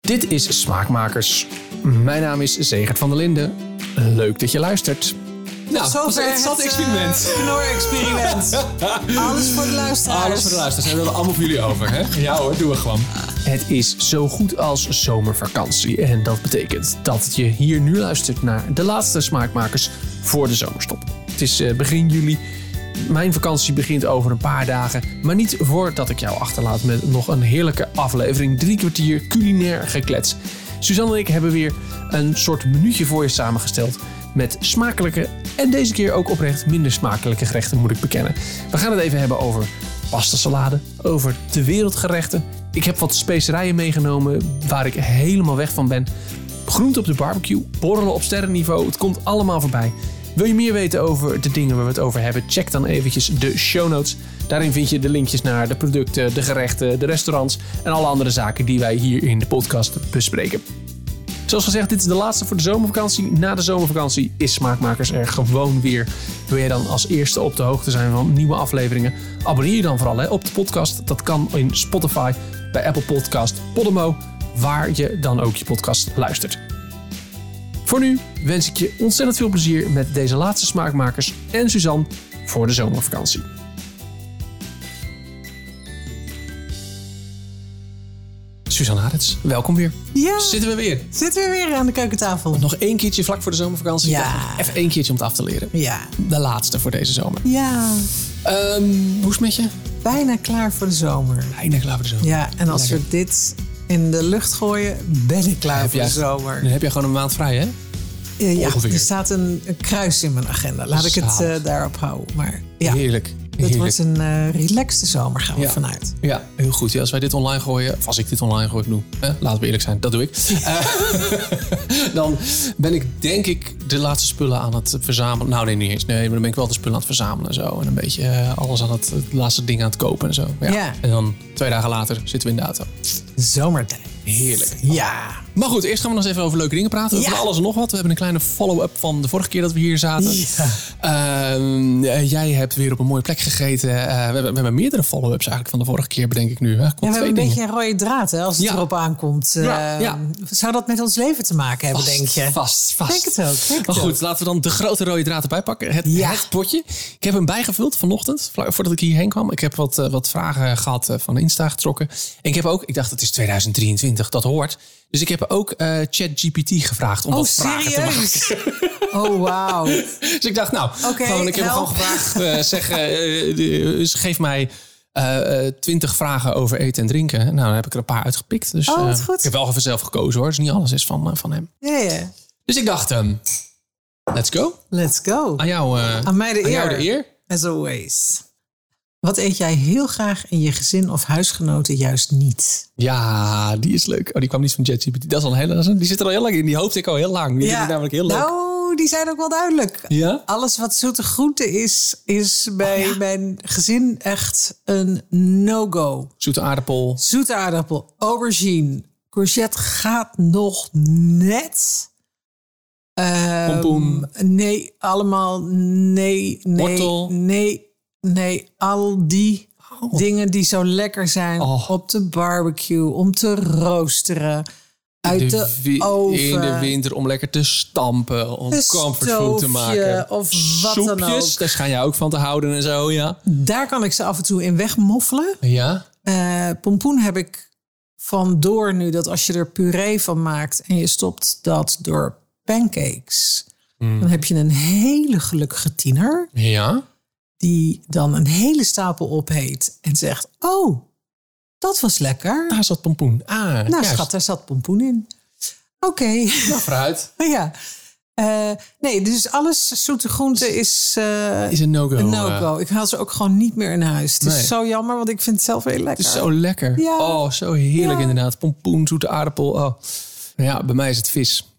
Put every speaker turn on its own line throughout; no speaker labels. Dit is Smaakmakers. Mijn naam is Zegert van der Linden. Leuk dat je luistert. Nou, dat
Zover
is het experiment.
eh, Knor-experiment. Alles voor de luisteraars.
Alles voor de luisteraars. We hebben allemaal voor jullie over, hè? Ja hoor, doen we gewoon. Het is zo goed als zomervakantie. En dat betekent dat je hier nu luistert naar de laatste smaakmakers voor de zomerstop. Het is eh, begin juli. Mijn vakantie begint over een paar dagen. Maar niet voordat ik jou achterlaat met nog een heerlijke aflevering. Drie kwartier culinair geklets. Suzanne en ik hebben weer een soort minuutje voor je samengesteld met smakelijke en deze keer ook oprecht minder smakelijke gerechten, moet ik bekennen. We gaan het even hebben over pastasalade, over de wereldgerechten. Ik heb wat specerijen meegenomen waar ik helemaal weg van ben. Groente op de barbecue, borrelen op sterrenniveau, het komt allemaal voorbij. Wil je meer weten over de dingen waar we het over hebben? Check dan eventjes de show notes. Daarin vind je de linkjes naar de producten, de gerechten, de restaurants en alle andere zaken die wij hier in de podcast bespreken. Zoals gezegd, dit is de laatste voor de zomervakantie. Na de zomervakantie is Smaakmakers er gewoon weer. Wil jij dan als eerste op de hoogte zijn van nieuwe afleveringen? Abonneer je dan vooral hè, op de podcast. Dat kan in Spotify, bij Apple Podcast, Podimo, waar je dan ook je podcast luistert. Voor nu wens ik je ontzettend veel plezier met deze laatste Smaakmakers en Suzanne voor de zomervakantie. Suzanne Arends, welkom weer.
Ja,
Zitten we weer.
zitten we weer aan de keukentafel.
Nog één keertje vlak voor de zomervakantie.
Ja.
Even één keertje om het af te leren.
Ja.
De laatste voor deze zomer.
Ja,
Ehm, hoe is het met je?
bijna klaar voor de zomer.
Eindelijk klaar voor de zomer.
Ja, en als
Lekker.
we dit in de lucht gooien, ben ik klaar voor de
jij-
zomer.
Dan heb jij gewoon een maand vrij, hè?
Eh, ja,
ongeveer.
er staat een, een kruis in mijn agenda. Laat ik het
Zalig.
eh, daarop houden. Maar ja,
Heerlijk.
het
Heerlijk.
wordt een eh relaxte zomer, gaan we
Ja.
vanuit.
Ja, heel goed. Ja, als wij dit online gooien, of als ik dit online gooi, ik noem, hè, laten we eerlijk zijn, dat doe ik. Eh, dan ben ik denk ik de laatste spullen aan het verzamelen. Nou, nee, niet eens. Nee, maar dan ben ik wel de spullen aan het verzamelen en zo. En een beetje eh, alles aan het, het laatste ding aan het kopen en zo. Ja.
Ja.
En dan twee dagen later zitten we in de auto.
Zomertijd.
Heerlijk.
Ja.
Maar goed, eerst gaan we nog eens even over leuke dingen praten.
Ja.
Van alles en nog wat. We hebben een kleine follow-up van de vorige keer dat we hier zaten.
Ja.
Ehm, eh, jij hebt weer op een mooie plek gegeten. Eh, we, hebben, we hebben meerdere follow-ups eigenlijk van de vorige keer, bedenk ik nu. Hè?
Ja,
Komt
we
twee
hebben een
dingen.
beetje een rode draad hè, als het
Ja.
erop aankomt.
Ja,
Eh,
ja.
Zou dat met ons leven te maken hebben,
Vast,
denk je?
Vast, vast.
Denk het ook, denk het
maar goed,
ook.
laten we dan de grote rode draad erbij pakken. Het,
Ja.
het potje. Ik heb hem bijgevuld vanochtend, vla- voordat ik hierheen kwam. Ik heb wat, eh, wat vragen gehad eh, van Insta getrokken. En ik heb ook, ik dacht het is 2023, dat hoort. Dus ik heb ook eh, ChatGPT gevraagd om
Oh,
wat vragen te maken.
serieus? Oh, wauw.
Dus ik dacht, nou,
Oké,
gewoon, ik heb hem
help.
gewoon gevraagd. eh, zeg, eh, eh, dus geef mij eh, twintig vragen over eten en drinken. Nou, dan heb ik er een paar uitgepikt. Dus,
Oh, wat
eh,
goed.
Ik heb wel even zelf gekozen hoor. Dus niet alles is van, eh, van hem.
Ja, ja.
Dus ik dacht, ehm, let's go.
Let's go.
Aan jou, eh,
Aan mij de
aan
eer.
jou de eer.
As always. Wat eet jij heel graag en je gezin of huisgenoten juist niet?
Ja, die is leuk. Oh, die kwam niet van ChatGPT. Dat is al een hele... dat is een- Die zit er al heel lang in. Die hoopte ik al heel lang. Die vind ik namelijk heel leuk.
Nou, die zijn ook wel duidelijk.
Ja? Oh,
Alles wat zoete groente is, is bij mijn gezin echt een no-go.
Zoete aardappel.
Zoete aardappel, aubergine, courgette gaat nog net. Ehm,
Pompoen.
Nee, allemaal nee, nee,
Wortel.
nee, nee. Al die dingen die zo lekker zijn
Oh.
op de barbecue, om te roosteren, uit de,
wi-
oven.
In de winter om lekker te stampen. Om
Een
comfortfood te
stoofje
maken.
of wat dan
Soepjes,
ook.
daar schijn jij ook van te houden en zo, ja.
Daar kan ik ze af en toe in wegmoffelen.
Ja?
Eh, pompoen heb ik van door nu dat als je er puree van maakt en je stopt dat door pancakes,
Mm.
dan heb je een hele gelukkige tiener
Ja?
die dan een hele stapel opheet en zegt: Oh, dat was lekker.
Daar zat pompoen. Ah,
nou,
juist.
schat, daar zat pompoen in. Oké,
Nou, vooruit.
ja. Eh, nee, dus alles zoete groente is eh,
Is een no-go.
een
eh.
no-go. Ik haal ze ook gewoon niet meer in huis. Het
Nee.
is zo jammer, want ik vind het zelf heel lekker.
Het is zo lekker.
Ja.
Oh, zo heerlijk
Ja.
inderdaad. Pompoen, zoete aardappel. Oh. Nou ja, bij mij is het vis.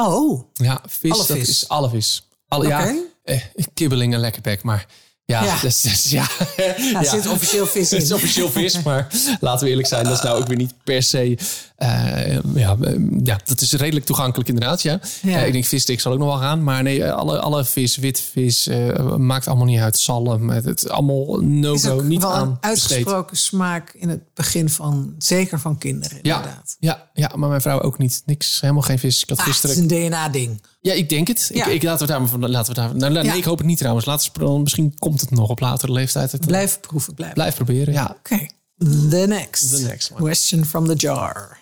Oh,
Ja, vis,
Alle
dat
vis?
is alle vis. Alle,
Oké.
Ja, eh, kibbelingen lekkerbek, maar Ja,
Ja.
Dus, dus ja.
Ja, Er zit officieel vis
Het is
in.
officieel vis, maar laten we eerlijk zijn, dat is nou ook weer niet per se. eh, ja, eh, ja, dat is redelijk toegankelijk inderdaad. Ja.
Ja.
Eh, ik denk visstick zal ook nog wel gaan, maar nee, eh, alle, alle vis, witvis, eh maakt allemaal niet uit. Zalm, het, het is allemaal
is
no-go,
ook
Nou, niet
wel
aan.
een
besteed.
uitgesproken smaak in het begin van, zeker van kinderen
Ja,
inderdaad.
ja, ja, maar mijn vrouw ook niet. Niks, helemaal geen vis. Ik had
Ah, het
gisteren
is een DNA-ding.
Ja, ik denk het.
Ja.
Ik, ik, laten we daar maar van. Laten we daar, nou, nee,
Ja.
ik hoop het niet trouwens. Laten we, dan- misschien komt het nog op latere leeftijd. Het, eh,
Blijf proeven, blijf.
blijf proberen. Ja.
Oké, the next.
The next one.
Question from the jar.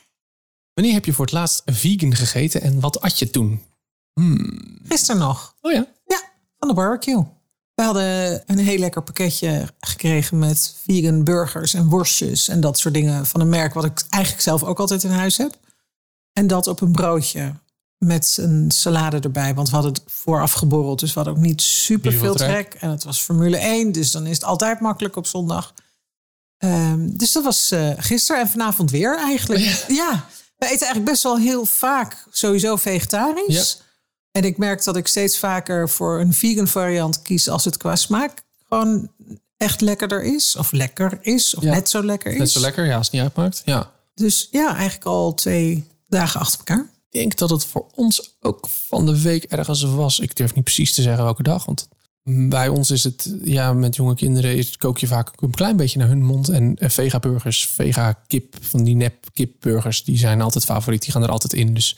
Wanneer heb je voor het laatst vegan gegeten en wat at je toen?
Gisteren nog.
Oh ja.
Ja, van de barbecue. We hadden een heel lekker pakketje gekregen met vegan burgers en worstjes en dat soort dingen van een merk wat ik eigenlijk zelf ook altijd in huis heb. En dat op een broodje met een salade erbij, want we hadden het vooraf geborreld, dus we hadden ook niet super
Niet veel
veel
trek.
trek. En het was Formule 1, dus dan is het altijd makkelijk op zondag. Ehm, dus dat was eh, gisteren en vanavond weer eigenlijk. Ja. we eten eigenlijk best wel heel vaak sowieso vegetarisch. En ik merk dat ik steeds vaker voor een vegan variant kies als het qua smaak gewoon echt lekkerder is. Of lekker is, of
Ja.
net zo lekker is.
Net zo lekker, ja, als het niet uitmaakt. Ja.
Dus ja, eigenlijk al twee dagen achter elkaar.
Ik denk dat het voor ons ook van de week ergens was. Ik durf niet precies te zeggen welke dag. Want bij ons is het, ja, met jonge kinderen is, kook je vaak ook een klein beetje naar hun mond. En eh, vega-burgers, vega-kip, van die nep-kipburgers, die zijn altijd favoriet. Die gaan er altijd in. Dus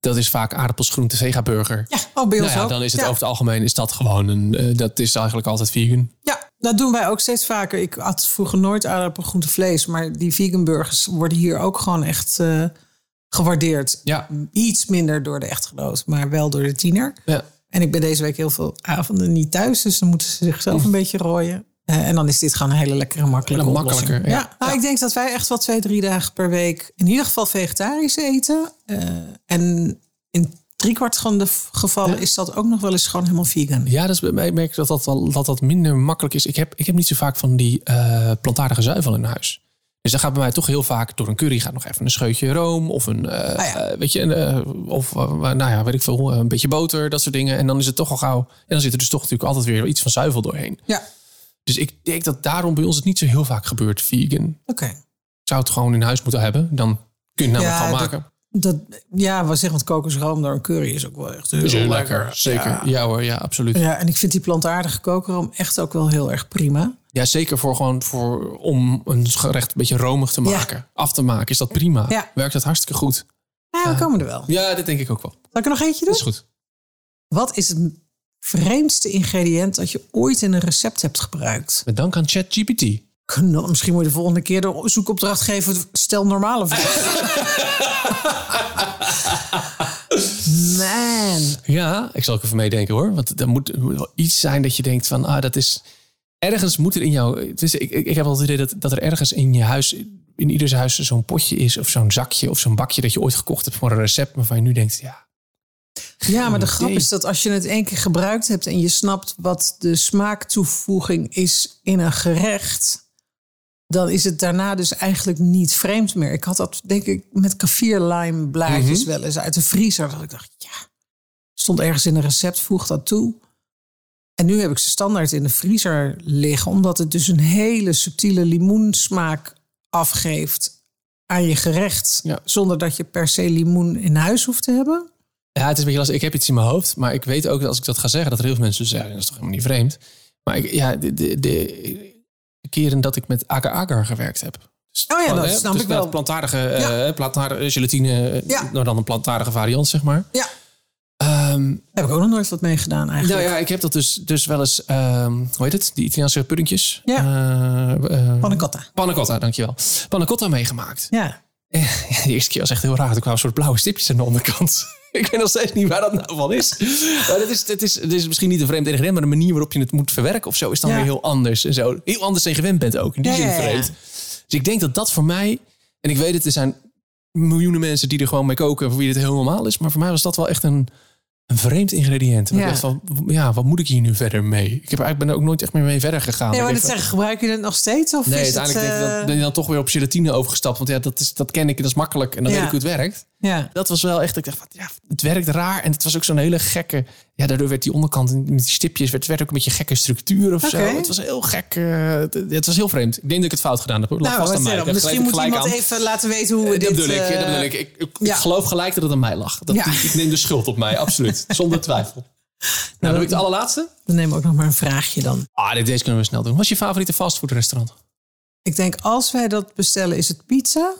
dat is vaak aardappels, groente, vega-burger.
Ja, oh, bij ons
Nou ja,
ook.
dan is het
ja.
over het algemeen is dat gewoon een. eh, dat is eigenlijk altijd vegan.
Ja, dat doen wij ook steeds vaker. Ik had vroeger nooit aardappel, groente, vlees. Maar die vegan burgers worden hier ook gewoon echt eh, gewaardeerd.
Ja.
Iets minder door de echtgenoot, maar wel door de tiener.
ja.
En ik ben deze week heel veel avonden niet thuis. Dus dan moeten ze zichzelf een beetje rooien. Eh, en dan is dit gewoon een hele lekkere, makkelijke
Hele
oplossing.
makkelijker, ja.
Nou, Ik denk dat wij echt wel twee, drie dagen per week... in ieder geval vegetarisch eten. Eh, en in driekwart van de v- gevallen is dat ook nog wel eens gewoon helemaal vegan.
Ja, dus bij mij merk ik dat dat, wel, dat dat minder makkelijk is. Ik heb, ik heb niet zo vaak van die eh, plantaardige zuivel in huis. Dus dan gaat bij mij toch heel vaak door een curry gaat nog even een scheutje room of een, eh,
Ah ja.
eh, weet je, een, eh, of eh, nou ja, weet ik veel, een beetje boter, dat soort dingen. En dan is het toch al gauw. En dan zit er dus toch natuurlijk altijd weer iets van zuivel doorheen.
Ja,
Dus ik denk dat daarom bij ons het niet zo heel vaak gebeurt vegan.
oké.
Ik zou het gewoon in huis moeten hebben, dan kun je het namelijk
Ja,
van
dat-
maken.
Dat, ja, wat zeg, want kokosroom door een curry is ook wel echt heel,
Is heel
lekker.
Zeker. Ja.
Ja.
hoor, ja, absoluut. Ja,
Ja, en ik vind die plantaardige kokeroom echt ook wel heel erg prima.
zeker voor gewoon voor, om een gerecht een beetje romig te
Ja.
maken. Af te maken, is dat prima.
Ja.
Werkt dat hartstikke goed.
Ja, we komen er wel.
Ja, dat denk ik ook wel.
Zal ik er nog eentje
Dat
doen?
is goed.
Wat is het vreemdste ingrediënt dat je ooit in een recept hebt gebruikt?
Met dank aan ChatGPT.
Kno- Misschien moet je de volgende keer de zoekopdracht geven. Stel normale vragen. Man.
Ja, ik zal ook even meedenken hoor. Want er moet, er moet wel iets zijn dat je denkt van, ah, dat is... Ergens moet er in jou... Het is, ik, ik ik heb wel het idee dat, dat er ergens in je huis... In ieders huis zo'n potje is of zo'n zakje of zo'n bakje... dat je ooit gekocht hebt voor een recept... waarvan je nu denkt, ja,
Ja, maar de grap
idee.
is dat als je het één keer gebruikt hebt en je snapt wat de smaaktoevoeging is in een gerecht, dan is het daarna dus eigenlijk niet vreemd meer. Ik had dat denk ik met kaffir lime blaadjes wel eens uit de vriezer. Dat ik dacht, ja, stond ergens in een recept, voeg dat toe. En nu heb ik ze standaard in de vriezer liggen, omdat het dus een hele subtiele limoensmaak afgeeft aan je gerecht,
Ja.
zonder dat je per se limoen in huis hoeft te hebben.
Ja, het is een beetje lastig. Ik heb iets in mijn hoofd, maar ik weet ook dat als ik dat ga zeggen, dat er heel veel mensen zeggen, dat is toch helemaal niet vreemd. Maar ik, ja, de, de, de keren dat ik met agar agar gewerkt heb. Dus
Oh ja,
van,
dat
hè,
snap
dus
ik wel.
dat Plantaardige,
Ja.
eh, plantaardige gelatine, eh,
Ja.
nou dan een plantaardige variant, zeg maar.
Ja.
Ehm,
Daar heb ik ook nog nooit wat mee gedaan
nou
eigenlijk.
ja, ik heb dat dus, dus wel eens, ehm, hoe heet het? Die Italiaanse puddingjes.
Ja.
Eh, eh,
Pannacotta.
panna cotta, dankjewel. Panna cotta meegemaakt.
Ja.
Ja, de eerste keer was echt heel raar. Er kwamen een soort blauwe stipjes aan de onderkant. Ik weet nog steeds niet waar dat nou van is. Maar dat is, dat is, dat is misschien niet een vreemd ingrediënt, maar de manier waarop je het moet verwerken of zo is dan
Ja.
weer heel anders. En zo. Heel anders dan je gewend bent ook. In die
Ja,
zin
ja, ja.
vreemd. Dus ik denk dat dat voor mij, en ik weet het, er zijn miljoenen mensen die er gewoon mee koken, voor wie dit heel normaal is. Maar voor mij was dat wel echt een, een vreemd ingrediënt. Ja. Ik
Ja.
dacht van, ja, wat moet ik hier nu verder mee? Ik heb eigenlijk ben er ook nooit echt meer mee verder gegaan.
Nee,
Ik
maar
denk
dat
van-
zeggen, gebruik je het nog steeds? Of
Nee,
is het,
uiteindelijk denk ik
eh,
dat, ben je dan toch weer op gelatine overgestapt. Want ja, dat, is, dat ken ik en dat is makkelijk. En dan
Ja.
weet ik hoe het werkt.
Ja.
Dat was wel echt, ik dacht, van, ja, het werkt raar. En het was ook zo'n hele gekke, ja, daardoor werd die onderkant met die stipjes, werd, werd ook een beetje een gekke structuur of
Oké.
zo. Het was heel gek, eh, het, het was heel vreemd. Ik denk dat ik het fout gedaan heb. hoor. Het lag
Nou,
vast
wat
aan mij. Ik
verder.
heb
misschien
gelijk-
moet
gelijk
iemand
aan-
even laten weten hoe we
dat
dit...
bedoel ik, ja, dat
eh,
bedoel ik. Ik, ik, ik
ja.
geloof gelijk dat het aan mij lag. Dat,
Ja.
ik, ik neem de schuld op mij, absoluut. Zonder twijfel. Nou, dan heb ik de allerlaatste.
Dan nemen we ook nog maar een vraagje dan.
Ah, dit- deze kunnen we snel doen. Wat is je favoriete fastfoodrestaurant?
Ik denk, als wij dat bestellen, is het pizza.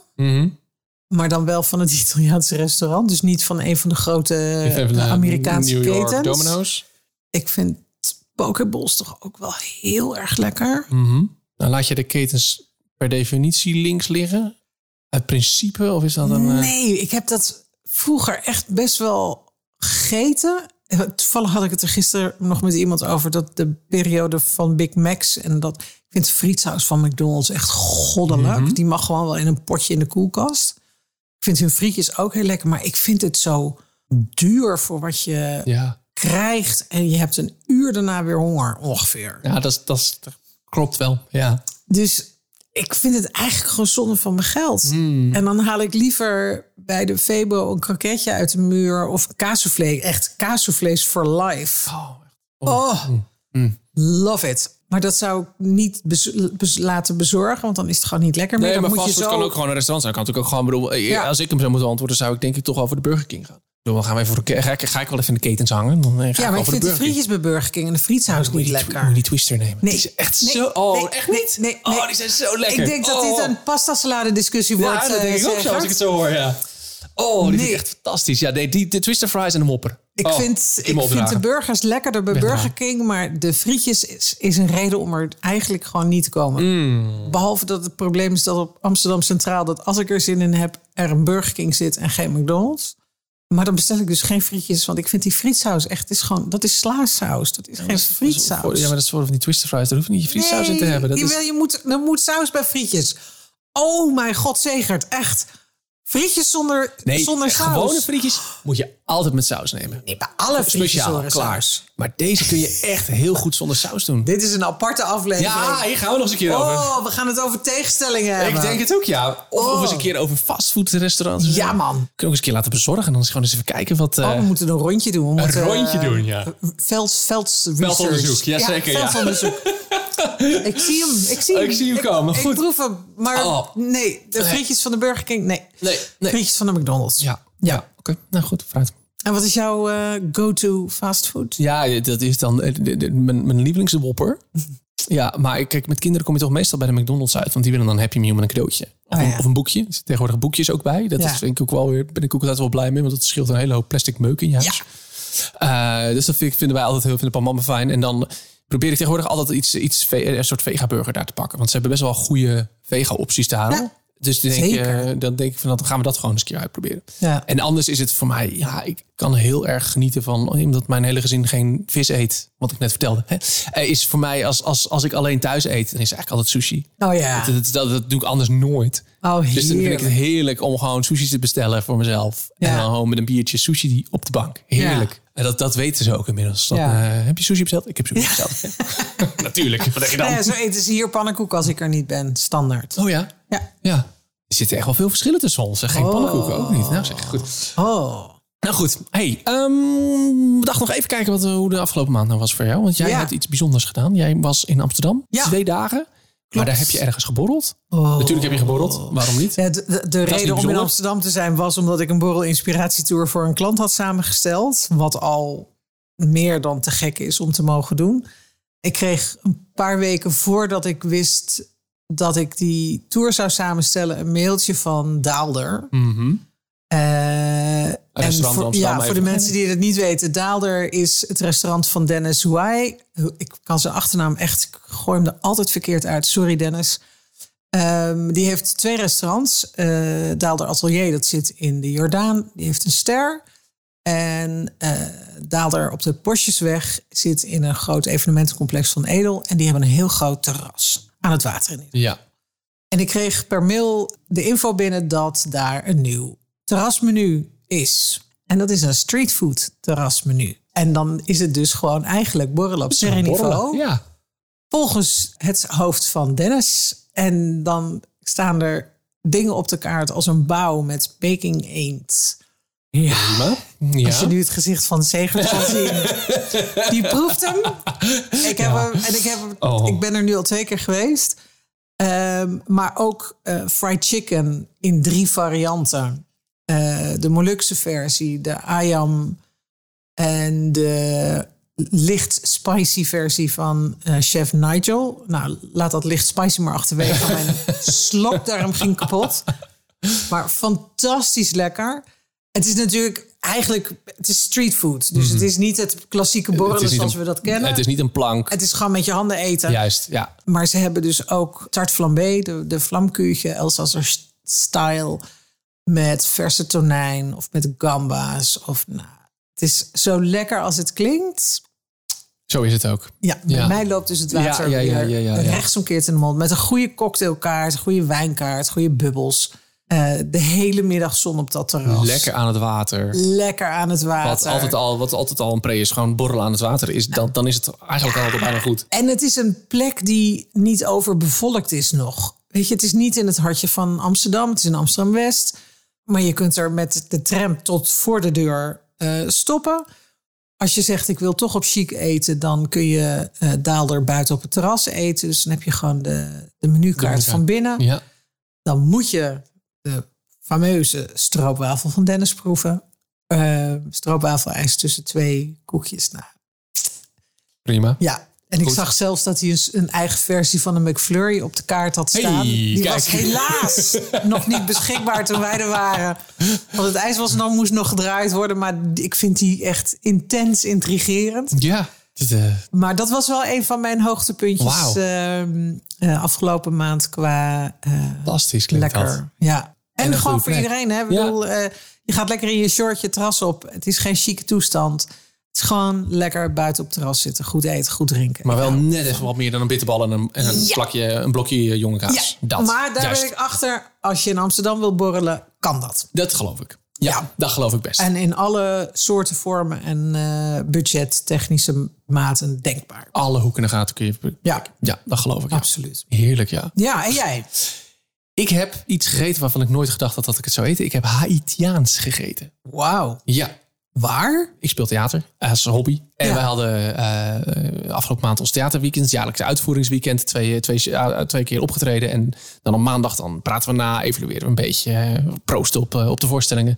Maar dan wel van het Italiaanse restaurant. Dus niet van een van Eh, de grote
Even naar
Amerikaanse
New York
ketens.
Domino's.
Ik vind pokeballs toch ook wel heel erg lekker.
Mhm. Dan laat je de ketens per definitie links liggen. Uit principe, of is dat een... eh,
Nee, ik heb dat vroeger echt best wel gegeten. Toevallig had ik het er gisteren nog met iemand over... dat de periode van Big Macs en dat... Ik vind frietsaus van McDonald's echt goddelijk.
Mhm.
Die mag gewoon wel in een potje in de koelkast. Ik vind hun frietjes ook heel lekker. Maar ik vind het zo duur voor wat je
Ja,
krijgt. En je hebt een uur daarna weer honger, ongeveer.
ja dat, is- dat, is- dat klopt wel. Ja.
Dus ik vind het eigenlijk gewoon zonde van mijn geld.
Hmm.
En dan haal ik liever bij de Febo een kroketje uit de muur of een kaassoufflé. Echt kaassoufflés for life.
Oh, Hmm.
Oh, love it. Maar dat zou ik niet bez- bez- laten bezorgen, want dan is het gewoon niet lekker meer.
nee,
Dan
maar
moet je
fastfood
zo-
kan ook gewoon een restaurant zijn. Kan natuurlijk ook gewoon, bedoel, eh,
Ja.
Als ik hem zou moeten antwoorden, zou ik denk ik toch over de Burger King gaan. Ik bedoel, Dan gaan we even voor de, ke- ga, ik, ga ik wel even in de ketens hangen. Dan eh, ga
Ja,
ik
maar ik
over de
vind de
Burger King.
frietjes bij Burger King en de frietsaus
Moet
niet
je die, twi- moet
lekker.
je die twister nemen.
Nee.
Die is echt
Nee,
zo... Oh,
nee,
echt
nee,
niet?
nee,
Oh,
nee.
die zijn zo lekker.
Ik denk dat dit
Oh.
een pasta salade discussie wordt.
Ja, dat
eh,
denk ik ook zo, als
Segert.
ik het zo hoor, ja. Oh, die vind
Nee.
ik echt fantastisch. Ja, nee, die, de Twister Fries en de mopper.
Ik,
Oh,
vind,
die
ik
moet
vind de
opdragen.
burgers lekkerder bij
Wegdragen.
Burger King, maar de frietjes is, is een reden om er eigenlijk gewoon niet te komen.
Mm.
Behalve dat het probleem is dat op Amsterdam Centraal, dat als ik er zin in heb, er een Burger King zit en geen McDonald's. Maar dan bestel ik dus geen frietjes, want ik vind die frietsaus echt, is gewoon, dat is slaasaus. Dat is geen frietsaus.
Ja, maar dat is voor van die Twister Fries. Daar hoef je niet je frietsaus in te hebben. Dat
jawel,
is...
je moet, er moet saus bij frietjes. Oh mijn god, Zegert, echt. Frietjes zonder,
Nee,
zonder saus.
gewone frietjes moet je altijd met saus nemen.
Nee, bij alle frietjes
Speciaal,
horen
klaar.
saus.
Maar deze kun je echt heel goed zonder saus doen.
Dit is een aparte aflevering.
Ja, hier gaan we nog eens een keer over.
Oh, we gaan het over tegenstellingen hebben.
Ik denk het ook, ja. Of, of
Oh.
eens een keer over fastfoodrestaurants.
Ja, man.
Kunnen we ook eens een keer laten bezorgen. En dan eens gewoon eens even kijken wat... eh,
Oh, we moeten een rondje doen. We moeten, eh,
ja.
Veld, velds
Veldonderzoek,
research.
jazeker, ja. Oh,
veldonderzoek. ik zie hem. Ik zie hem.
Ik zie hem komen,
Ik,
goed.
proef hem. Maar
Oh.
nee, de frietjes van de Burger King, nee.
Nee, nee.
Frietjes van de McDonald's.
Ja, ja. oké. Nou goed, vooruit.
En wat is jouw eh, go-to fastfood?
Ja, dat is dan eh, de- de- mijn, mijn lievelingswopper. Ja, maar ik- kijk, met kinderen kom je toch meestal bij de McDonald's uit. Want die willen dan een Happy Meal met een cadeautje. Of,
Ah,
een,
ja.
of een boekje. Er zitten tegenwoordig boekjes ook bij. Dat
Ja.
is, vind ik ook wel weer, ben ik ook altijd wel blij mee. Want dat scheelt een hele hoop plastic meuk in je huis. Eh, dus dat vind, ik- vinden wij altijd heel vinden Paul Mama fijn. En dan probeer ik tegenwoordig altijd iets, iets ve- een soort vega-burger daar te pakken. Want ze hebben best wel goede vega-opties daar. hoor.
Ja.
Dus dan denk, je,
Zeker.
dan denk ik van, dan gaan we dat gewoon eens een keer uitproberen.
Ja.
En anders is het voor mij, ja, ik kan heel erg genieten van, omdat mijn hele gezin geen vis eet, wat ik net vertelde. Hè, Eh, is voor mij, als, als, als ik alleen thuis eet, dan is het eigenlijk altijd sushi.
Oh ja.
Dat, dat, dat doe ik anders nooit.
Oh,
Dus dan vind ik het
heerlijk.
heerlijk om gewoon sushi te bestellen voor mezelf. En
Ja.
dan gewoon met een biertje sushi die op de bank. Heerlijk.
Ja.
En dat, dat weten ze ook inmiddels. Dan,
Ja.
eh, heb je sushi besteld? Ik heb sushi besteld. Natuurlijk. Wat denk je dan?
Nou ja, zo eten ze hier pannenkoek als ik er niet ben. Standaard.
Oh ja?
Ja.
Ja. Er zitten echt wel veel verschillen tussen ons. hè. Geen pannenkoeken ook niet. Nou zeg, goed.
Oh.
Nou goed, hey, ehm, we dachten nog even kijken wat, eh, hoe de afgelopen maand nou was voor jou. Want jij
Ja.
hebt iets bijzonders gedaan. Jij was in Amsterdam,
Ja.
twee dagen. Maar daar heb je ergens geborreld.
Oh.
Natuurlijk heb je geborreld, waarom niet?
Ja, de de, de reden om in
bijzonder.
Amsterdam te zijn was omdat ik een borrel inspiratietour voor een klant had samengesteld. Wat al meer dan te gek is om te mogen doen. Ik kreeg een paar weken voordat ik wist dat ik die tour zou samenstellen, een mailtje van Daalder.
Mhm.
Eh, en
restaurant
voor,
Amsterdam
ja,
even.
voor de mensen die het niet weten, Daalder is het restaurant van Dennis Huai. Ik kan zijn achternaam echt, ik gooi hem er altijd verkeerd uit. Sorry Dennis. Ehm, die heeft twee restaurants. Eh, Daalder Atelier, dat zit in de Jordaan, die heeft een ster. En eh, Daalder op de Postjesweg zit in een groot evenementencomplex van Edel. En die hebben een heel groot terras aan het water in.
Ja.
En ik kreeg per mail de info binnen dat daar een nieuw terrasmenu is. En dat is een streetfood terrasmenu. En dan is het dus gewoon eigenlijk borrelen op
Borrelen.
sereniveau.
Ja.
Volgens het hoofd van Dennis. En dan staan er dingen op de kaart als een bouw met baking eend. Ja.
Prima. Ja.
Als je nu het gezicht van Segers kan zien. Die proeft hem. Ik, heb hem, en ik, heb hem
Oh.
ik ben er nu al twee keer geweest. Ehm, maar ook eh, fried chicken in drie varianten. Eh, de Molukse versie, de ayam en de licht spicy versie van eh, chef Nigel. Nou, laat dat licht spicy maar achterwege. Mijn slokdarm ging kapot. Maar fantastisch lekker. Het is natuurlijk eigenlijk het is streetfood. Dus het is niet het klassieke borrelen
Mhm. niet
zoals
een-
we dat kennen.
Het is niet een plank.
gewoon met je handen eten.
Juist, ja.
Maar ze hebben dus ook tart flambé, de, de vlamkuurtje, Elsasser st- style. Met verse tonijn of met gamba's. Of, nou, het is zo lekker als het klinkt.
Zo is het ook.
Ja, bij
Ja.
mij loopt dus het water
Ja, ja, ja,
weer
ja, ja, ja.
rechtsomkeerd in de mond. Met een goede cocktailkaart, een goede wijnkaart, goede bubbels. Eh, de hele middag zon op dat terras.
Lekker aan het water.
Lekker aan het
Wat
water.
altijd, al, wat altijd al een pre is, gewoon borrelen aan het water is, dan, dan is het eigenlijk altijd bijna goed.
En het is een plek die niet overbevolkt is nog. Weet je, het is niet in het hartje van Amsterdam. Het is in Amsterdam-West. Maar je kunt er met de tram tot voor de deur eh, stoppen. Als je zegt, ik wil toch op chic eten... dan kun je eh daalder buiten op het terras eten. Dus dan heb je gewoon de, de menukaart
De
van binnen.
Ja.
Dan moet je de fameuze stroopwafel van Dennis proeven. Eh stroopwafel-ijs tussen twee koekjes. Nou,
Prima.
ja, en ik
Goed.
zag zelfs dat hij een, een eigen versie van een McFlurry op de kaart had staan.
Hey,
Die
kijk.
was helaas nog niet beschikbaar toen wij er waren. Want het ijs was nog, moest nog gedraaid worden, maar ik vind die echt intens intrigerend.
Ja. Dit, eh,
Maar dat was wel een van mijn hoogtepuntjes
Wauw.
ehm, eh, afgelopen maand qua eh,
fantastisch klinkt
lekker.
dat.
Ja. En,
een
gewoon
goede
voor
plek.
iedereen. Hè? Ik
Ja.
bedoel, eh, je gaat lekker in je shortje het terras op. Het is geen chique toestand. Het is gewoon lekker buiten op het terras zitten. Goed eten, goed drinken.
Maar wel net even wat meer dan een bitterbal en een, en een,
Ja.
plakje, een blokje eh, jonge kaas.
Ja,
dat.
maar daar
Juist.
ben ik achter. Als je in Amsterdam wil borrelen, kan dat.
Dat geloof ik. Ja,
Ja.
dat geloof ik best.
En in alle soorten, vormen en eh, budget, technische maten denkbaar.
Alle hoeken en gaten kun je...
Ja,
Ja, dat geloof ik. ja.
absoluut.
Heerlijk, ja.
Ja, en jij?
Ik heb iets gegeten waarvan ik nooit gedacht had dat ik het zou eten. Ik heb Haitiaans gegeten.
Wauw.
Ja.
Waar?
Ik speel theater Eh, als hobby. En
Ja.
wij hadden eh, afgelopen maand ons theaterweekend, jaarlijks uitvoeringsweekend, twee, eh, twee, ja, twee keer opgetreden. En dan op maandag dan praten we na, evalueren we een beetje, eh, proosten op, eh, op de voorstellingen.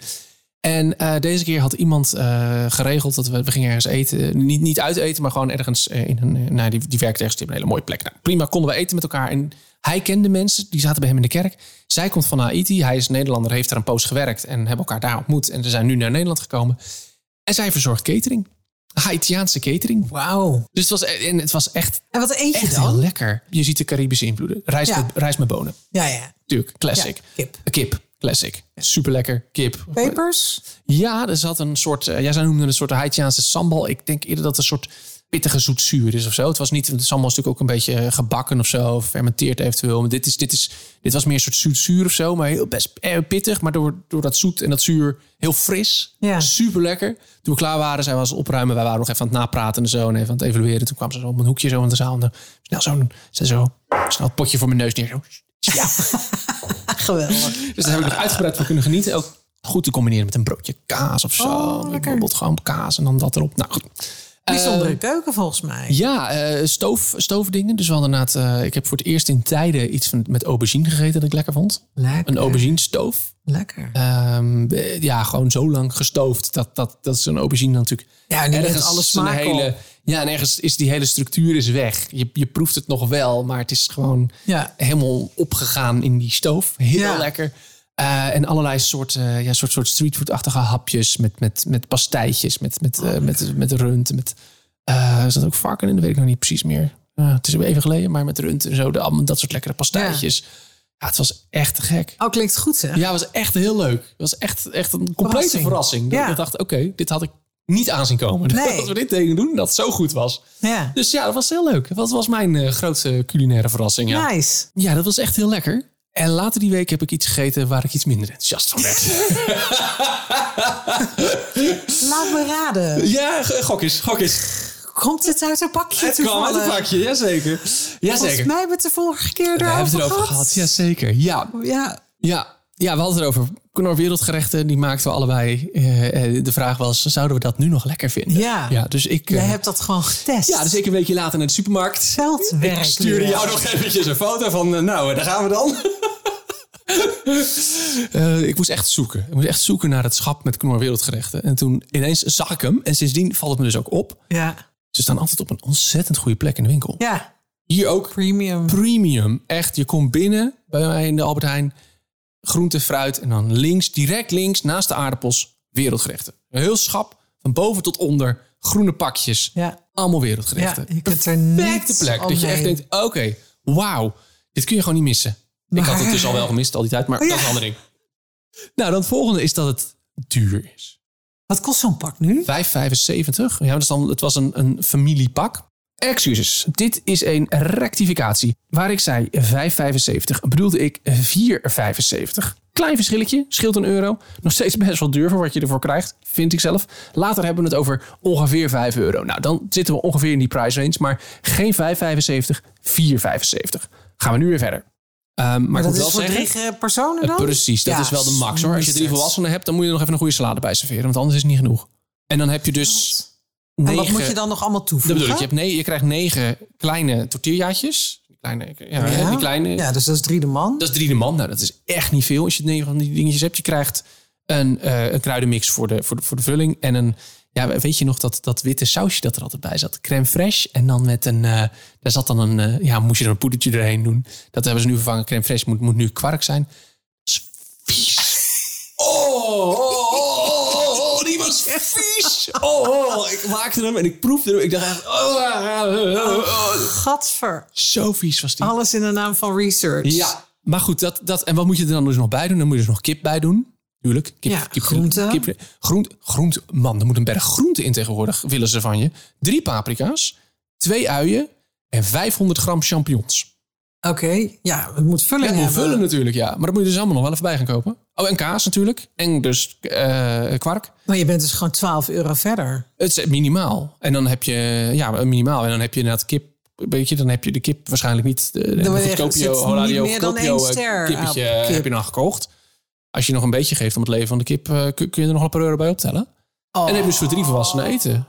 En eh, deze keer had iemand eh, geregeld dat we, we gingen ergens eten. Eh, Niet, niet uit eten, maar gewoon ergens eh, in een. eh, nou, die, die werkt ergens die hebben een hele mooie plek. Nou, prima, konden we eten met elkaar. En hij kende mensen, die zaten bij hem in de kerk. Zij komt van Haiti, hij is Nederlander, heeft daar een poos gewerkt en hebben elkaar daar ontmoet. En ze zijn nu naar Nederland gekomen. En zij verzorgt catering. Haitiaanse catering.
Wauw.
Dus het was, en het was echt,
En wat eet je
echt
dan?
heel lekker. Je ziet de Caribische invloeden. Rijst,
Ja.
met, rijst met bonen.
Ja, ja.
Tuurlijk, classic.
Ja, kip.
Kip, classic. Super lekker. Kip.
Pepers?
Ja, er zat een soort, eh, jij zei noemde het een soort Haitiaanse sambal. Ik denk eerder dat het een soort pittige zoetzuur is of zo. Het was niet, de sambal is natuurlijk ook een beetje eh, gebakken of zo, of fermenteerd eventueel. Maar dit, is, dit, is, dit was meer een soort zoetzuur of zo, maar heel best eh, pittig. Maar door, door dat zoet en dat zuur heel fris.
Ja.
Super lekker. Toen we klaar waren, zij was opruimen. Wij waren nog even aan het napraten en zo en even aan het evalueren. Toen kwam ze zo op een hoekje zo in de zaal. En dan snel zo'n, ze zo, snel het potje voor mijn neus neer. Zo, ja.
Geweldig.
Dus daar heb ik nog uitgebreid van kunnen genieten. Ook goed te combineren met een broodje kaas of zo.
Oh, lekker.
Bijvoorbeeld gewoon kaas en dan dat erop. Nou, goed.
Bijzondere keuken volgens mij.
Ehm, Ja, eh, stoof, stoofdingen. Dus we hadden inderdaad... eh, ik heb voor het eerst in tijden iets van, met aubergine gegeten dat ik lekker vond.
Lekker.
Een aubergine stoof.
Lekker.
Ehm, eh, ja, gewoon zo lang gestoofd. Dat, dat, dat is een aubergine dan natuurlijk.
Ja, en die heeft alle
is
smaak op.
Ja, en ergens is die hele structuur is weg. Je, je proeft het nog wel, maar het is gewoon
Ja.
helemaal opgegaan in die stoof. Heel
Ja.
lekker. Eh, en allerlei soorten eh, ja, soort, soort streetfood-achtige hapjes met, met, met pastijtjes, met, met, eh, met, met rund. Met, eh, is dat ook varken in? Dat weet ik nog niet precies meer. Eh, het is even geleden, maar met rund en zo. De, allemaal dat soort lekkere pastijtjes. Ja, het was echt te gek.
Oh, klinkt goed zeg.
Ja, was echt heel leuk. Het was echt, echt een complete
Verrassing.
verrassing. Dat
Ja.
Ik dacht, oké, dit had ik niet aanzien komen.
Nee.
Dat we dit tegen doen, dat het zo goed was.
Ja.
Dus ja, dat was heel leuk. Dat was mijn eh, grootste culinaire verrassing. Ja.
Nice.
ja, dat was echt heel lekker. En later die week heb ik iets gegeten waar ik iets minder enthousiast van werd.
Laat me raden.
ja, g- gok eens, gok eens.
Komt het uit een pakje
Het kwam eh, uit
toevallig?
een pakje, jazeker. Jazeker.
Volgens mij hebben we het de vorige keer
We
erover
hebben het erover
gehad.
gehad, jazeker. Ja,
Ja,
Ja, ja we hadden het erover. Knor Wereldgerechten, die maakten we allebei. Eh, eh, de vraag was, zouden we dat nu nog lekker vinden?
Ja.
ja dus ik... eh,
Jij hebt dat gewoon getest.
ja, dus ik een weekje later naar de supermarkt.
Veldwerk.
Ik stuurde
weer.
jou nog eventjes een foto van, eh, nou, eh, daar gaan we dan. Eh, ik moest echt zoeken. Ik moest echt zoeken naar het schap met Knor Wereldgerechten. En toen ineens zag ik hem. En sindsdien valt het me dus ook op.
Ja.
Ze staan altijd op een ontzettend goede plek in de winkel.
ja,
Hier ook
premium.
premium. Echt, je komt binnen bij mij in de Albert Heijn. Groente, fruit en dan links, direct links, naast de aardappels, wereldgerechten. Een heel schap, van boven tot onder, groene pakjes.
Ja.
Allemaal
Ja,
wereldgerechten.
je kunt er niet
Perfecte plek. Dat je echt
omheen.
denkt, oké, wauw. Dit kun je gewoon niet missen. Ik had het
Maar-
dus al wel gemist al die tijd, maar dat is een ander ding. Nou, dan het volgende is dat het duur is.
Wat kost zo'n pak nu?
5,75. Ja, dat is dan, het was een, een familiepak. Excuses, dit is een rectificatie. Waar ik zei 5,75 bedoelde ik 4,75. Klein verschilletje, scheelt een euro. Nog steeds best wel duur voor wat je ervoor krijgt, vind ik zelf. Later hebben we het over ongeveer 5 euro. Nou, dan zitten we ongeveer in die price range, maar geen 5,75, 4,75. Gaan we nu weer verder. Ehm, maar, ik
Dat
moet wel
is voor
zeggen,
drie eh, personen dan?
Precies, dat
Ja,
is wel de max hoor. Als je drie
mustard.
volwassenen hebt, dan moet je er nog even een goede salade bij serveren. Want anders is het niet genoeg. En dan heb je dus
En
negen...
wat moet je dan nog allemaal
Dat
toevoegen?
bedoel ik. Je, hebt nee, je krijgt negen kleine tortillaatjes. Die Kleine, ja,
ja?
Die kleine,
ja, dus dat is drie de man.
Dat is drie de man. Nou, dat is echt niet veel als je negen van die dingetjes hebt. Je krijgt een, eh, een kruidenmix voor de, voor, de, voor de vulling. En een, ja, weet je nog dat, dat witte sausje dat er altijd bij zat? Crème fraîche. En dan met een, eh, daar zat dan een, eh, ja, moest je er een poedertje doorheen doen. Dat hebben ze nu vervangen. Crème fraîche moet, moet nu kwark zijn. Oh, oh, oh, oh, oh, die was vies. Oh, oh, ik maakte hem en ik proefde hem. Ik dacht echt, oh, ah, oh, oh.
Gadver.
Zo vies was die.
Alles in de naam van research.
Ja, maar goed, dat, dat, en wat moet je er dan dus nog bij doen? Dan moet je dus nog kip bij doen. Tuurlijk. Kip,
Ja,
kip,
groente.
Kip, groent, groent, man, er moet een berg groente in tegenwoordig, willen ze van je. Drie paprika's, twee uien en 500 gram champignons.
Oké, ja, het moet vulling
En
hebben.
vullen natuurlijk, ja. Maar dat moet je dus allemaal nog wel even bij gaan kopen. Oh, en kaas natuurlijk. En dus eh, kwark.
Maar je bent dus gewoon 12 euro verder.
Het is minimaal. En dan heb je, ja, minimaal. En dan heb je inderdaad kip. Weet je, dan heb je de kip waarschijnlijk niet. eh, De, de
Dan
goedkoopio,
zit
Horadio,
niet meer dan
goedkoopio,
één
eh,
ster
kippetje
aan kip.
heb je dan gekocht. Als je nog een beetje geeft om het leven van de kip, eh, kun kun je er nog een paar euro bij optellen. En dan heb je dus voor drie volwassenen eten.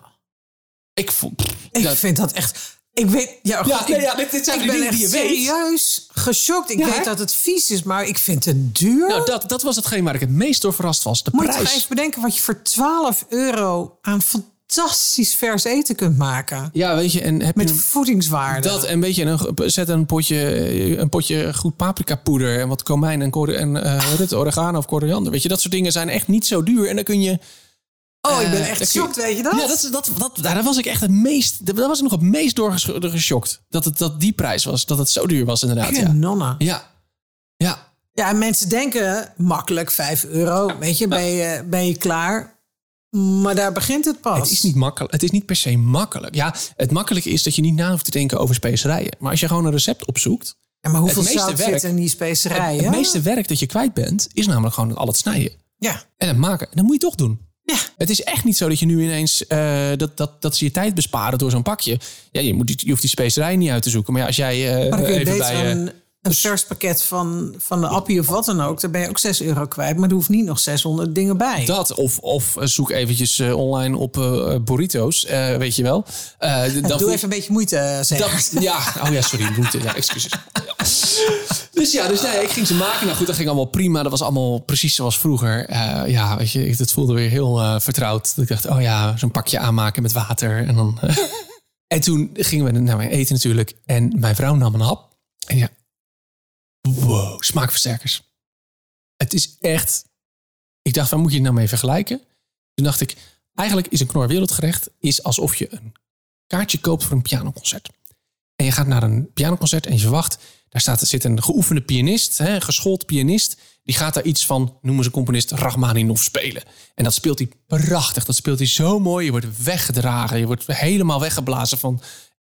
Ik vond.
Ik
dat-
vind dat echt... Ik weet... Ja,
Ja,
goed,
nee,
ik-
ja, dit- dit zijn
ik
die
ben
dingen
echt
die je weet.
serieus geschokt. Ik
Ja, hè?
weet dat het vies is, maar ik vind het duur.
nou, dat, dat was hetgeen waar ik het meest door verrast was. De
Moet je toch
prijs.
even bedenken wat je voor 12 euro aan fantastisch vers eten kunt maken.
Ja, weet je, en heb
Met
je een-
voedingswaarde.
dat en weet je, en een, zet een potje, eh, een potje goed paprikapoeder en wat komijn en, kor- en eh, hoe heet het, oregano of koriander. Weet je, dat soort dingen zijn echt niet zo duur. En dan kun je
oh, ik ben
Eh,
echt
dat kun je-
geschokt, weet je dat?
Ja, dat, is- dat, dat, daar was ik echt het meest. Daar was ik nog het meest door gesch- door geschokt. Dat het dat die prijs was. Dat het zo duur was, inderdaad. Ja.
Genonna.
Ja. ja.
Ja, en mensen denken makkelijk 5 euro. Weet je, ben je, ben je klaar? Maar daar begint het pas.
Het is niet makkelijk. Het is niet per se makkelijk. Ja, het makkelijke is dat je niet na hoeft te denken over specerijen. Maar als je gewoon een recept opzoekt.
Ja, maar hoeveel
het meeste
zout
werk-
zit in die
Het,
specerijen?
het meeste werk dat je kwijt bent, is namelijk gewoon al het snijden.
Ja.
En het maken. En dat moet je toch doen.
Ja.
Het is echt niet zo dat je nu ineens eh, dat, dat, dat ze je tijd besparen door zo'n pakje. Ja, je, moet, die- je hoeft die specerijen niet uit te zoeken. Maar ja, als jij eh,
Maar dan kun je
even
beter
bij. eh,
een, een vers pakket van, van de appie of wat dan ook. Daar ben je ook 6 euro kwijt. Maar er hoeft niet nog 600 dingen bij.
Dat, of, of eh, zoek eventjes eh, online op eh, burrito's, eh, weet je wel. Eh, d- dat
Doe even een beetje moeite, eh, zeg.
dat- ja, oh ja, sorry, route, ja, excuses. Ja. Dus ja, dus nee, ik ging ze maken. Nou goed, dat ging allemaal prima. Dat was allemaal precies zoals vroeger. Eh, ja, weet je, ik, dat voelde weer heel eh, vertrouwd. Dat ik dacht, oh ja, zo'n pakje aanmaken met water. En, dan, en toen gingen we naar mijn eten natuurlijk. En mijn vrouw nam een hap. En ja, wow, smaakversterkers. Het is echt... Ik dacht, waar moet je het nou mee vergelijken? Toen dacht ik, eigenlijk is een knor wereldgerecht... is alsof je een kaartje koopt voor een pianoconcert. En je gaat naar een pianoconcert en je verwacht... daar staat, zit een geoefende pianist, hè, een geschoold pianist... die gaat daar iets van, noemen ze componist, Rachmaninoff spelen. En dat speelt hij prachtig, dat speelt hij zo mooi. Je wordt weggedragen, je wordt helemaal weggeblazen van...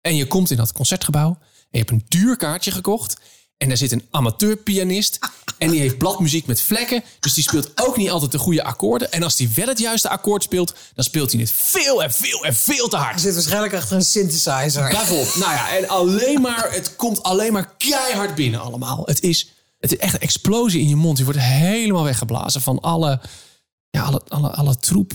en je komt in dat concertgebouw en je hebt een duur kaartje gekocht... en daar zit een amateurpianist en die heeft bladmuziek met vlekken... dus die speelt ook niet altijd de goede akkoorden. En als die wel het juiste akkoord speelt... dan speelt hij het veel en veel en veel te hard.
Je zit waarschijnlijk achter een synthesizer.
Daarvoor. Nou ja, en alleen maar, het komt alleen maar keihard binnen allemaal. Het is Het is echt een explosie in je mond. Je wordt helemaal weggeblazen van alle, ja, alle, alle, alle troep.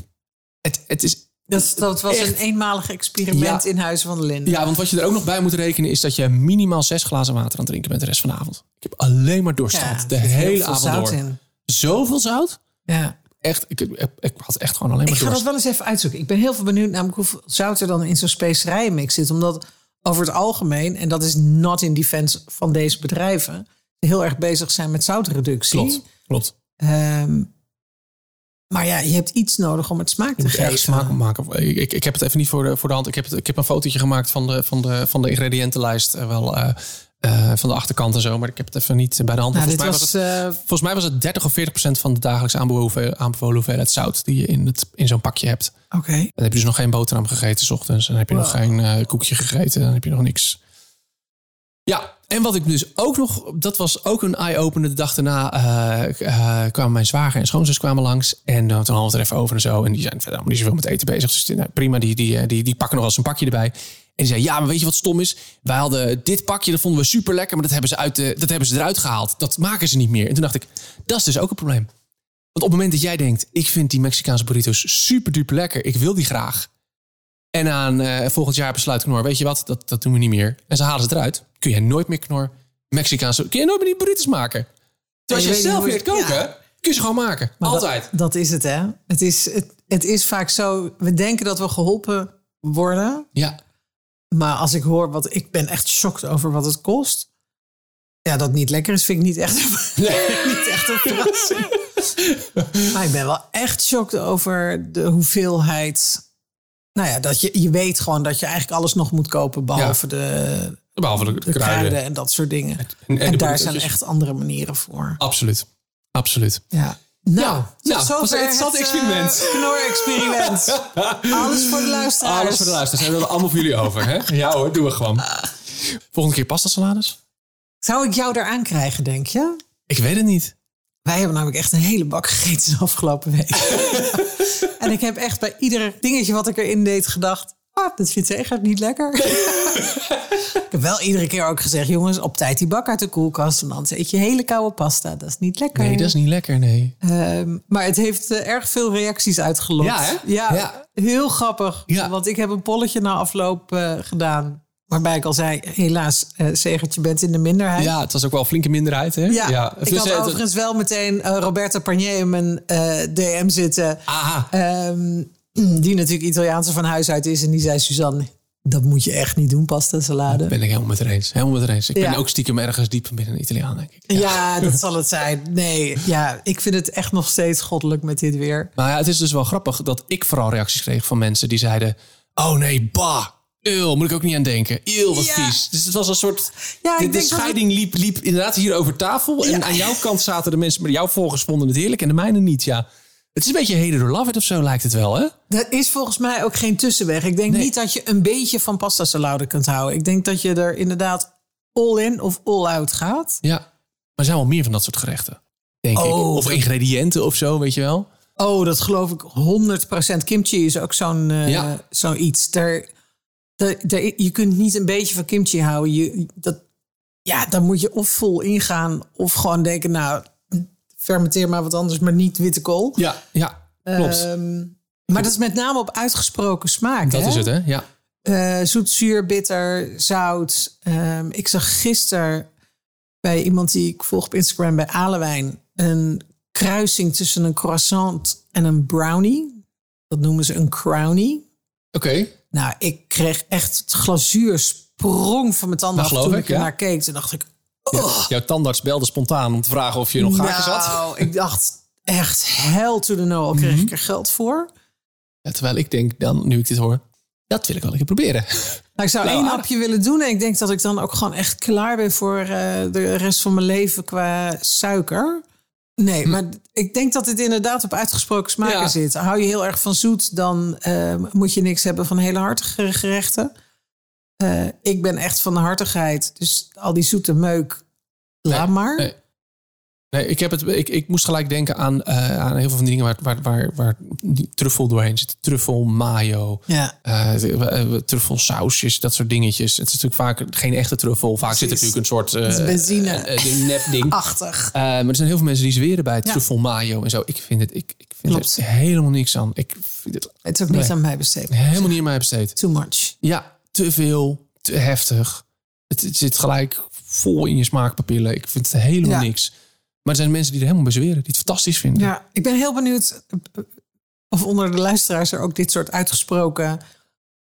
Het, het is
Dat, dat was
Echt?
een eenmalig experiment
Ja.
in Huizen van de Linden.
Ja, want wat je er ook nog bij moet rekenen is dat je minimaal zes glazen water aan het drinken bent de rest van de avond. Ik heb alleen maar dorst
Ja,
gehad.
er
de
zit heel
hele
veel
avond
zout
door.
in.
Zoveel zout?
Ja.
Echt, ik, ik, ik had echt gewoon alleen maar
Ik ga dat
dorst.
wel eens even uitzoeken. Ik ben heel veel benieuwd namelijk hoeveel zout er dan in zo'n specerijmix zit. Omdat over het algemeen, en dat is not in defense van deze bedrijven, die heel erg bezig zijn met zoutreductie.
Klopt, klopt.
Ehm, maar ja, je hebt iets nodig om het smaak te
moet
geven.
Dus ergens smaak op maken. Ik, ik, ik heb het even niet voor de, voor de hand. Ik heb, het, ik heb een fotootje gemaakt van de, van de, van de ingrediëntenlijst. eh, Wel, eh, eh, van de achterkant en zo. Maar ik heb het even niet bij de hand.
Nou,
volgens,
dit
mij was,
was,
het,
eh,
volgens mij was het 30 of 40 procent van de dagelijks aanbevolen, aanbevolen hoeveelheid zout. Die je in, het- in zo'n pakje hebt.
Oké.
Dan heb je dus nog geen boterham gegeten 's ochtends. Dan heb je nog
Wow.
geen eh, koekje gegeten. Dan heb je nog niks. Ja, en wat ik dus ook nog... Dat was ook een eye-opener. De dag daarna eh, eh, kwamen mijn zwager en schoonzus kwamen langs. En eh, toen hadden we het er even over en zo. En die zijn verder helemaal niet zoveel met eten bezig. Dus nou, prima, die, die, eh, die, die pakken nog wel eens een pakje erbij. En die zei, ja, maar weet je wat stom is? Wij hadden dit pakje, dat vonden we super lekker. Maar dat hebben, ze uit de, dat hebben ze eruit gehaald. Dat maken ze niet meer. En toen dacht ik, dat is dus ook een probleem. Want op het moment dat jij denkt, ik vind die Mexicaanse burritos super duper lekker, ik wil die graag. En aan eh, volgend jaar besluit Knor, weet je wat, dat, dat doen we niet meer. En ze halen ze eruit. Kun jij nooit meer Knor Mexicaanse, kun je nooit meer die burritos maken.
En je
Terwijl als
weet
je zelf
niet
leert
hoe het-
koken, kun je ze gewoon maken.
Maar dat-
Altijd.
Dat, is het, hè? Het is, het, het is vaak zo. We denken dat we geholpen worden.
Ja,
Maar als ik hoor wat. Ik ben echt shocked over wat het kost. Ja, dat het niet lekker is, vind ik niet echt. niet echt een verrassing. maar ik ben wel echt shocked over de hoeveelheid. Nou ja, dat je, je weet gewoon dat je eigenlijk alles nog moet kopen. behalve de,
behalve de,
de
kruiden.
kruiden en dat soort dingen. En,
en de
daar
broodjes.
zijn echt andere manieren voor.
Absoluut. Absoluut.
Ja. Nou,
Ja,
tot
nou,
zover
was een interessant
eh,
experiment.
Knor-experiment. Alles voor de luisteraars.
Alles voor de luisteraars. Hebben we allemaal voor jullie over, hè? Ja hoor, doen we gewoon. Volgende keer pasta salades?
Zou ik jou eraan krijgen, denk je?
Ik weet het niet.
Wij hebben namelijk echt een hele bak gegeten de afgelopen week. en ik heb echt bij ieder dingetje wat ik erin deed gedacht... Ah, dat vindt ze echt niet lekker. ik heb wel iedere keer ook gezegd... jongens, op tijd die bak uit de koelkast... want anders eet je hele koude pasta. Dat is niet lekker.
Nee, dat is niet lekker, nee.
Ehm, maar het heeft eh, erg veel reacties uitgelokt.
Ja, hè?
Ja,
Ja.
heel grappig.
Ja.
Want ik heb een polletje na afloop eh, gedaan. Waarbij ik al zei, helaas, eh Segert, je bent in de minderheid.
Ja, het was ook wel een flinke minderheid, hè?
Ja, ik
Dus,
had
eh, dat-
overigens wel meteen eh, Roberta Parnier in mijn eh, DM zitten.
Aha.
Ehm, die natuurlijk Italiaanse van huis uit is. En die zei, Suzanne, dat moet je echt niet doen, pasta salade.
Ben ik helemaal met haar eens. Helemaal met haar eens. Ik
Ja.
ben ook stiekem ergens diep van binnen een Italiaan, denk ik.
Ja. dat zal het zijn. Nee, ja, ik vind het echt nog steeds goddelijk met dit weer.
Maar ja, het is dus wel grappig dat ik vooral reacties kreeg van mensen die zeiden... Oh nee, bah. Eeuw, moet ik ook niet aan denken. Eeuw, wat
Ja.
vies. Dus het was een soort...
Ja, ik
de de
denk dat
scheiding liep, liep inderdaad hier over tafel. En aan jouw kant zaten de mensen... Maar jouw volgers vonden het heerlijk en de mijne niet, ja. Het is een beetje heden door love it of zo, lijkt het wel, hè?
Er is volgens mij ook geen tussenweg. Ik denk niet dat je een beetje van pasta salade kunt houden. Ik denk dat je er inderdaad all in of all out gaat.
Ja. Maar er zijn wel meer van dat soort gerechten, denk ik.
Oh.
Of ingrediënten of zo, weet je wel.
Oh, dat geloof ik 100%. Kimchi is ook zo'n eh,
Ja.
zoiets. Daar, daar, daar- je kunt niet een beetje van kimchi houden. Je, dat, ja, dan moet je of vol ingaan of gewoon denken... nou, fermenteer maar wat anders, maar niet witte kool.
Ja, ja. Klopt.
Ehm, maar dat is met name op uitgesproken smaak.
dat
hè?
is het, hè? Ja.
Eh, zoet, zuur, bitter, zout. Ehm, ik zag gisteren bij iemand die ik volg op Instagram bij Alewijn... een kruising tussen een croissant en een brownie. Dat noemen ze een crownie.
Oké.
Nou, ik kreeg echt het glazuur sprong van mijn tanden
Dat
af
geloof
toen
ik,
ik
ja.
ernaar keek. Toen dacht ik,
Jouw tandarts belde spontaan om te vragen of je nog gaatjes had.
nou, ik dacht echt hell to the no. Al kreeg
Mhm.
ik er geld voor.
Ja, terwijl ik denk, dan, nu ik dit hoor, dat wil ik wel een keer proberen.
Nou, ik zou
Nou,
één
aardig.
hapje willen doen en ik denk dat ik dan ook gewoon echt klaar ben voor eh, de rest van mijn leven qua suiker. Nee, maar ik denk dat het inderdaad op uitgesproken smaken
Hm. Ja.
zit. Hou je heel erg van zoet, dan eh, moet je niks hebben van hele hartige gerechten. Eh, ik ben echt van de hartigheid, dus al die zoete meuk, laat maar.
nee. Nee, ik, heb het, ik, ik moest gelijk denken aan, eh, aan heel veel van die dingen waar, waar, waar, waar die truffel doorheen zit. Truffel, mayo,
Ja.
eh, eh, truffelsausjes, dat soort dingetjes. Het is natuurlijk vaak geen echte truffel. Vaak zit er
Precies.
natuurlijk een soort eh,
Het is benzine.
eh, eh, nep ding.
Achtig.
Eh, maar er zijn heel veel mensen die zweren bij
Ja.
truffel mayo en zo. Ik vind het, ik, ik vind
Klopt.
er helemaal niks aan. Ik vind het
Het is ook niet
Nee.
aan mij besteed.
helemaal niet in mij besteed.
Too much.
Ja, te veel, te heftig. Het, het zit gelijk vol in je smaakpapillen. Ik vind het helemaal
Ja.
niks. Maar er zijn mensen die er helemaal bezweren, die het fantastisch vinden.
Ja, ik ben heel benieuwd of onder de luisteraars er ook dit soort uitgesproken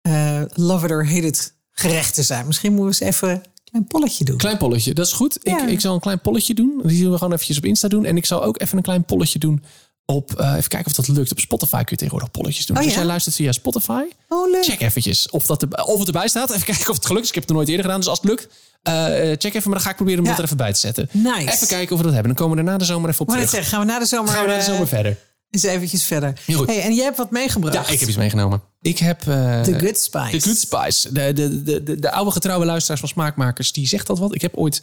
eh love it or hate it gerechten zijn. Misschien moeten we eens even een klein polletje doen.
Klein polletje, dat is goed.
Ja.
Ik, ik zal een klein polletje doen. Die zullen we gewoon eventjes op Insta doen. En ik zal ook even een klein polletje doen op... eh, even kijken of dat lukt. Op Spotify kun je tegenwoordig polletjes doen.
Oh,
Dus als
ja?
jij luistert via Spotify,
Oh, leuk.
check eventjes of, dat er, of het erbij staat. Even kijken of het gelukt is. Ik heb het nog nooit eerder gedaan, dus als het lukt... eh, eh, check even, maar dan ga ik proberen om
Ja.
dat er even bij te zetten.
Nice.
Even kijken of we dat hebben. Dan komen we daarna de zomer even op
Maar dat
terug.
zeggen, gaan we na de zomer,
gaan we naar de
eh,
zomer verder.
eens eventjes verder.
Heel goed.
Hey, en jij hebt wat meegebracht.
Ja, ik heb iets meegenomen. Ik heb... eh,
The Good Spice.
De Good Spice. De, de, de, de, de oude getrouwe luisteraars van Smaakmakers, die zegt dat wat. Ik heb ooit, ik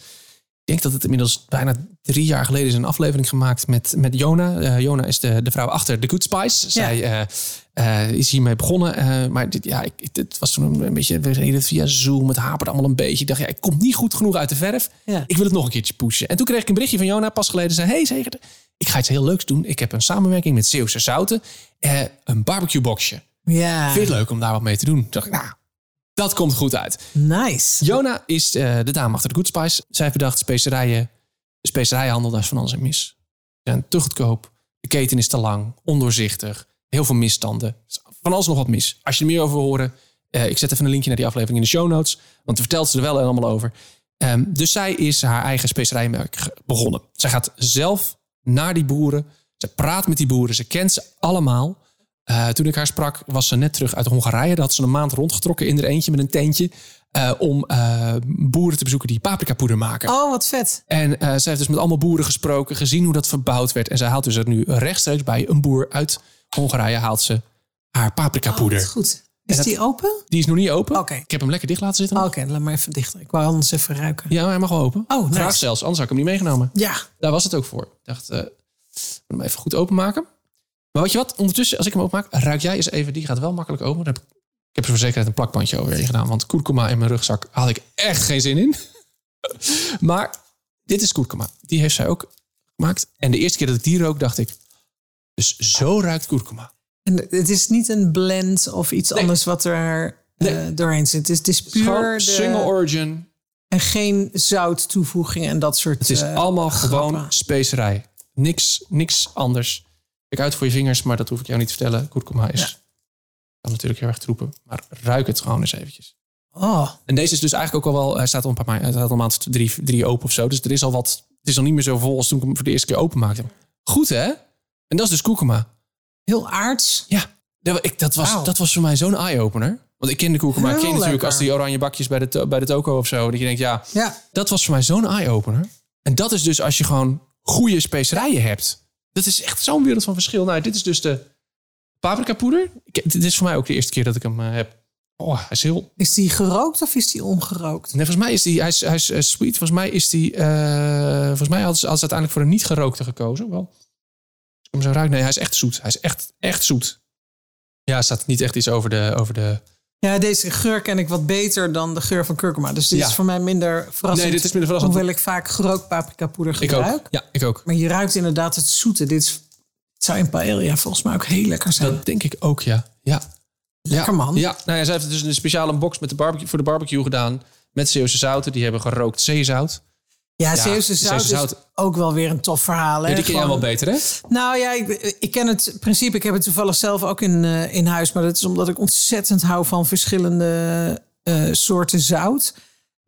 denk dat het inmiddels bijna drie jaar geleden is een aflevering gemaakt met, met Jona. Eh, Jona is de, de vrouw achter The Good Spice. Zij eh, eh, is hiermee begonnen. eh, maar dit, ja, ik, ik- dit was toen een beetje, we reden via Zoom, het haperde allemaal een beetje. Ik dacht, ja, ik kom niet goed genoeg uit de verf.
Ja.
Ik wil het nog een keertje pushen. En toen kreeg ik een berichtje van Jona pas geleden. Zei, hey zeker, ik ga iets heel leuks doen. Ik heb een samenwerking met Zeeuwse Zouten. eh, een barbecue boxje.
Ja,
Vind je het leuk om daar wat mee te doen? Toen dacht ik, nou, dat komt goed uit.
nice.
Jona is eh, de dame achter de Good Spice. Zij heeft bedacht specerijen. De specerijenhandel, daar is van alles en mis. Ze zijn te goedkoop. De keten is te lang. Ondoorzichtig. Heel veel misstanden. Van alles nog wat mis. Als je er meer over wil horen... eh, ik zet even een linkje naar die aflevering in de show notes. Want daar vertelt ze er wel en allemaal over. Ehm, dus zij is haar eigen specerijmerk ge- begonnen. Zij gaat zelf naar die boeren. Ze praat met die boeren. Ze kent ze allemaal. Eh, toen ik haar sprak, was ze net terug uit Hongarije. Daar had ze een maand rondgetrokken in haar eentje met een tentje. eh, om eh, boeren te bezoeken die paprikapoeder maken.
Oh, wat vet.
En eh, zij heeft dus met allemaal boeren gesproken, gezien hoe dat verbouwd werd. En zij haalt dus er nu rechtstreeks bij een boer uit Hongarije haalt ze haar paprikapoeder.
Oh, wat goed.
En
Is
dat-
die open?
Die is nog niet open.
Oké.
Ik heb hem lekker dicht laten zitten.
Oh, Oké, laat maar even dichter. Ik wou anders even ruiken.
Ja, maar hij mag wel open.
Oh, nice.
Graag zelfs, anders had ik hem niet meegenomen.
Ja.
Daar was het ook voor. Ik dacht, eh, ik moet hem even goed openmaken. Maar weet je wat? Ondertussen, als ik hem openmaak, ruik jij eens even. Die gaat wel makkelijk open. Dan heb ik, ik heb er voor zekerheid een plakbandje overheen gedaan. Want kurkuma in mijn rugzak had ik echt geen zin in. maar dit is kurkuma. Die heeft zij ook gemaakt. En de eerste keer dat ik die rook, dacht ik... Dus zo ruikt kurkuma.
En het is niet een blend of iets anders wat er eh,
Nee.
doorheen zit. Het is puur
Gewoon
de-
single origin.
en geen zout toevoeging en dat soort
Het is
eh,
allemaal gewoon
grappen.
specerij. Niks, niks anders. Kijk uit voor je vingers, maar dat hoef ik jou niet te vertellen. Kurkuma is... Kan natuurlijk heel erg troepen, maar ruik het gewoon eens eventjes.
Oh,
En deze is dus eigenlijk ook al wel... Hij staat al een paar maanden, hij staat al een maand of drie, drie open of zo. Dus er is al wat... Het is al niet meer zo vol als toen ik hem voor de eerste keer openmaakte. Goed, hè? En dat is dus kurkuma.
heel aards.
Ja, dat, wa- ik, dat, was,
Wauw.
dat was voor mij zo'n eye-opener. Want ik ken de kurkuma. Ik ken
Heel
je natuurlijk
lekker.
als die oranje bakjes bij de, to- bij de toko of zo. Dat je denkt, ja,
Ja,
dat was voor mij zo'n eye-opener. En dat is dus als je gewoon goede specerijen hebt. Dat is echt zo'n wereld van verschil. Nou, dit is dus de paprikapoeder. Ik- Dit is voor mij ook de eerste keer dat ik hem eh, heb. Oh, hij is heel...
is die gerookt of is die ongerookt?
Nee, volgens mij is die... Hij is, hij is eh, sweet. Volgens mij is die... eh, volgens mij hadden ze, hadden ze uiteindelijk voor een niet gerookte gekozen. Wel, als ik hem zo ruik... Nee, hij is echt zoet. Hij is echt, echt zoet. Ja, er staat niet echt iets over de... Over de
Ja, deze geur ken ik wat beter dan de geur van kurkuma. Dus dit
Ja.
is voor mij minder verrassend.
nee, dit is minder verrassend.
Hoewel ik vaak gerookt paprikapoeder
ik
gebruik.
ook. Ja, ik ook.
Maar je ruikt inderdaad het zoete. Dit is, het zou in paella volgens mij ook heel lekker zijn.
Dat denk ik ook, ja. Ja.
Lekker,
ja.
man.
Ja, nou ja, zij heeft dus een speciale box met de barbecue, voor de barbecue gedaan. Met Zeeuwse zouten. Die hebben gerookt zeezout.
ja, Zeeuwse
Zeeuwse
zout,
zout.
is ook wel weer een tof verhaal. hè?
Ja, die ken jij
Gewoon-
wel beter, hè?
Nou ja, ik, ik ken het principe. Ik heb het toevallig zelf ook in, eh, in huis. Maar dat is omdat ik ontzettend hou van verschillende eh, soorten zout.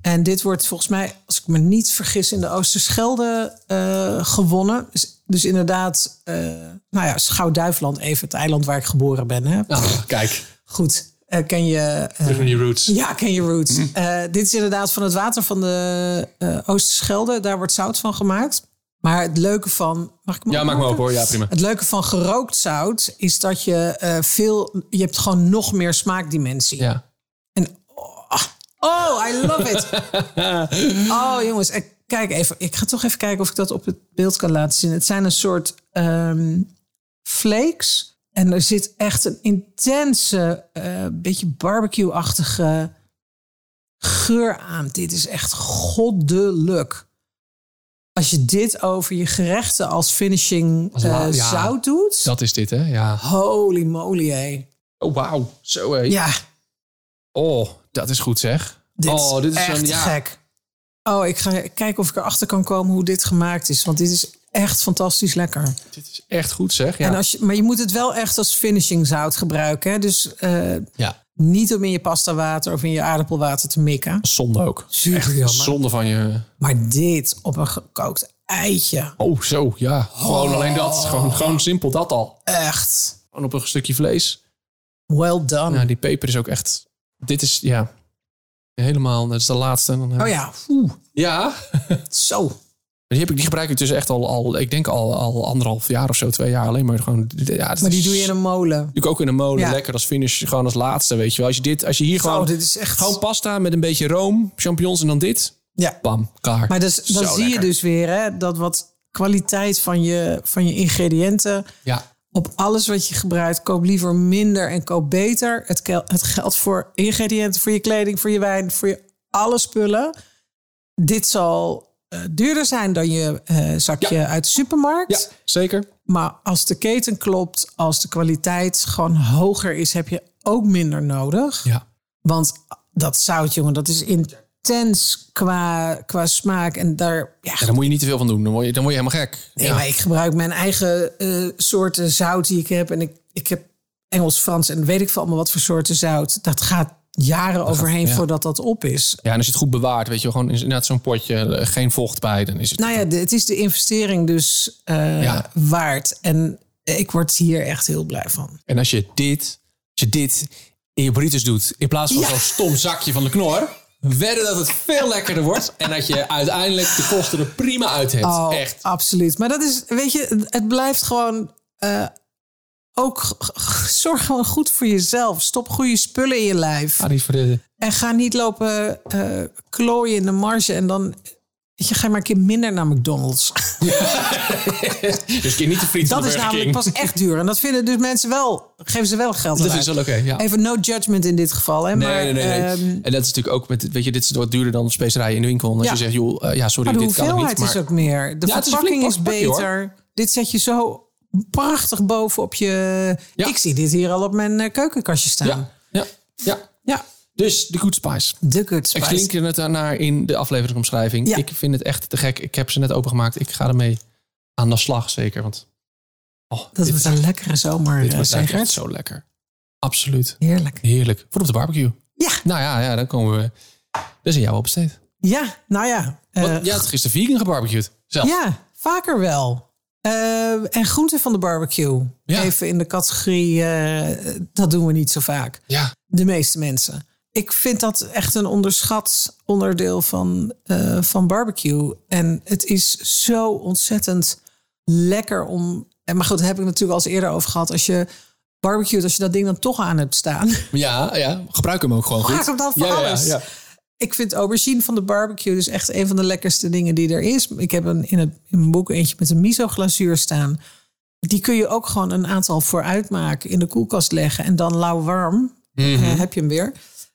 En dit wordt volgens mij, als ik me niet vergis, in de Oosterschelde eh, gewonnen. Dus, dus inderdaad, eh, nou ja, Schouw-Duiveland, even het eiland waar ik geboren ben. Hè?
Ah, kijk,
Goed, eh, ken je eh,
terug naar die roots. Hm.
ja, ken je roots. Eh, dit is inderdaad van het water van de eh Oosterschelde. Daar wordt zout van gemaakt. Maar het leuke van... Mag ik hem
Ja, maak me
opmaken?
open hoor. Ja, prima.
Het leuke van gerookt zout is dat je eh, veel... Je hebt gewoon nog meer smaakdimensie.
Ja.
En oh, oh, I love it. oh, jongens. eh, Kijk even. Ik ga toch even kijken of ik dat op het beeld kan laten zien. Het zijn een soort ehm, flakes. En er zit echt een intense, eh, beetje barbecue-achtige geur aan. Dit is echt goddelijk. Als je dit over je gerechten als finishing
Als
eh,
la- ja.
zout doet.
Dat is dit, hè? Ja.
Holy moly, hé.
Oh, wauw. Zo, hé.
Ja,
Oh, dat is goed, zeg.
dit
oh,
is
dit
echt
een, ja.
gek. Oh, ik ga kijken of ik erachter kan komen hoe dit gemaakt is. Want dit is echt fantastisch lekker.
Dit is echt goed, zeg. Ja.
En als je, maar je moet het wel echt als finishing zout gebruiken. Hè? Dus eh,
ja.
niet om in je pasta water of in je aardappelwater te mikken.
Zonde ook.
Super jammer.
Zonde van je...
Maar dit op een gekookt eitje.
Oh, zo, ja. Gewoon alleen dat. Gewoon, gewoon simpel, dat al.
Echt.
Gewoon op een stukje vlees.
Well
Ja,
done.
Nou, die peper is ook echt... Dit is, ja... Helemaal, dat is de laatste. En dan, eh,
Oh ja, oeh,
Ja.
zo.
Die, heb ik, die gebruik ik dus echt al, al ik denk al, al anderhalf jaar of zo, twee jaar. Alleen maar gewoon... Ja,
Maar die doe je in een molen.
Natuurlijk ook in een molen.
Ja.
Lekker als finish, gewoon als laatste, weet je wel. Als je, dit, als je hier gewoon...
Oh, dit is echt...
Gewoon pasta met een beetje room, champignons en dan dit.
Ja.
Bam, klaar.
Maar dus, dan
Zo
zie
lekker.
je dus weer hè, dat wat kwaliteit van je, van je ingrediënten...
Ja,
op alles wat je gebruikt. Koop liever minder en koop beter. Het, kel- het geldt voor ingrediënten, voor je kleding, voor je wijn, voor je alle spullen. Dit zal eh, duurder zijn dan je eh, zakje uit de supermarkt.
ja zeker.
Maar als de keten klopt, als de kwaliteit gewoon hoger is, heb je ook minder nodig.
Ja.
Want dat zout, jongen, dat is intens qua, qua smaak. En daar, ja,
Ja, daar moet je niet te veel van doen. Dan word je, dan word je helemaal gek.
Nee,
ja.
maar ik gebruik mijn eigen eh, soorten zout die ik heb. En ik, ik heb Engels, Frans en weet ik veel allemaal wat voor soorten zout. Dat gaat jaren overheen
ja.
voordat dat op is.
ja, en als je het goed bewaart, weet je wel, gewoon in- inderdaad zo'n potje, eh, geen vocht bij, dan is het...
Nou ja, de- het is de investering dus eh,
Ja.
waard. En ik word hier echt heel blij van.
En als je dit, als je dit in je burritos doet, in plaats van
Ja.
zo'n stom zakje van de knor, wedden dat het veel lekkerder wordt en dat je uiteindelijk de kosten er prima uit hebt.
Oh,
Echt.
absoluut. Maar dat is, weet je, het- het blijft gewoon eh, ook... g- g- Zorg gewoon goed voor jezelf. Stop goede spullen in je lijf.
Ah, die voor de...
En ga niet lopen eh, klooien in de marge en dan. Weet je, ga maar een keer minder naar McDonald's.
Dus je niet te friet van
Dat
de
is
Burger
namelijk
King.
pas echt duur. En dat vinden dus mensen wel. Geven ze wel geld
Dat
aan
is
uit.
wel oké, ja.
Even no judgment in dit geval. Hè? maar,
nee, nee, nee. nee.
ehm,
en dat is natuurlijk ook met, weet je, dit is wat duurder dan specerijen in de winkel. En als
Ja.
je zegt, joh, eh, ja, sorry,
maar de
dit kan ik
hoeveelheid
niet. Maar
is ook meer. De
Ja, het is een
verpakking
flink
is,
pakje, hoor.
beter. Dit zet je zo prachtig boven op je...
Ja.
Ik zie dit hier al op mijn eh, keukenkastje staan.
ja,
Ja,
ja, ja. Dus de Good Spice.
de good
Ik
spice.
link er het naar in de afleveringsomschrijving.
Ja.
Ik vind het echt te gek. Ik heb ze net opengemaakt. Ik ga ermee aan de slag, zeker. Want oh,
Dat
dit,
wordt een lekkere zomer,
dit
eh,
wordt echt
Segert.
zo lekker. Absoluut.
Heerlijk.
Heerlijk. Voor op de barbecue.
Ja.
Nou ja, ja dan komen we. Dat is in jouw opsteed.
Ja, nou ja. eh,
Want jij had gisteren vegan gebarbecued. Zelf.
Ja, vaker wel. Eh, en groenten van de barbecue.
Ja.
Even in de categorie, eh, dat doen we niet zo vaak.
ja.
De meeste mensen. Ik vind dat echt een onderschat onderdeel van, eh, van barbecue. En het is zo ontzettend lekker om... En maar goed, daar heb ik natuurlijk al eens eerder over gehad. Als je barbecuet, als je dat ding dan toch aan hebt staan...
Ja, ja, gebruik hem ook gewoon goed.
Gebruik hem dan voor
ja,
alles.
Ja, ja.
Ik vind aubergine van de barbecue dus echt een van de lekkerste dingen die er is. Ik heb een, in, het, in mijn boek eentje met een miso glazuur staan. Die kun je ook gewoon een aantal vooruit maken, in de koelkast leggen en dan lauw warm.
Mhm.
eh, heb je hem weer.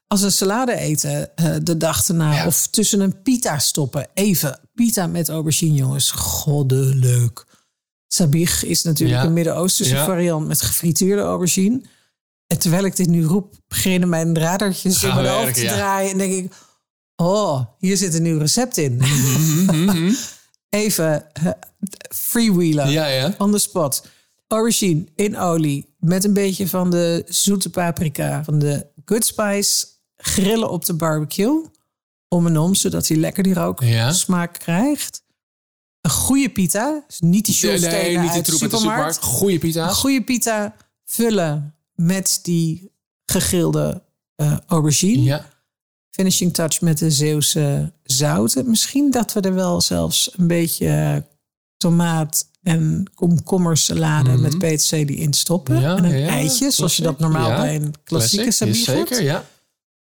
Als een salade eten eh, de dag erna.
Ja.
Of tussen een pita stoppen. Even pita met aubergine, jongens. Goddelijk. Sabich is natuurlijk
Ja.
een Midden-Oosterse
Ja.
variant met gefrituurde aubergine. En terwijl ik dit nu roep, beginnen mijn radertjes in
Gaan
mijn hoofd
werken,
te
ja.
draaien. En denk ik, oh, hier zit een nieuw recept in.
Mhm,
Even eh, freewheelen,
Ja, ja.
on the spot. Aubergine in olie, met een beetje van de zoete paprika, van de good spice. Grillen op de barbecue, om en om, zodat hij lekker die rook
Ja.
smaak krijgt. Een goede pita, dus niet die
Nee,
shortstenen
nee, niet die
uit de
troep uit de
supermarkt.
supermarkt. Goeie pita.
Een goede pita vullen met die gegrilde eh, aubergine.
Ja.
Finishing touch met de Zeeuwse zouten. Misschien dat we er wel zelfs een beetje eh, tomaat en komkommersalade met peterselie in stoppen.
Mhm. Ja,
en een
ja,
eitje, zoals je dat
klassiek.
normaal
Ja,
bij een klassieke
Classic,
sabie
is Zeker,
hebt.
ja.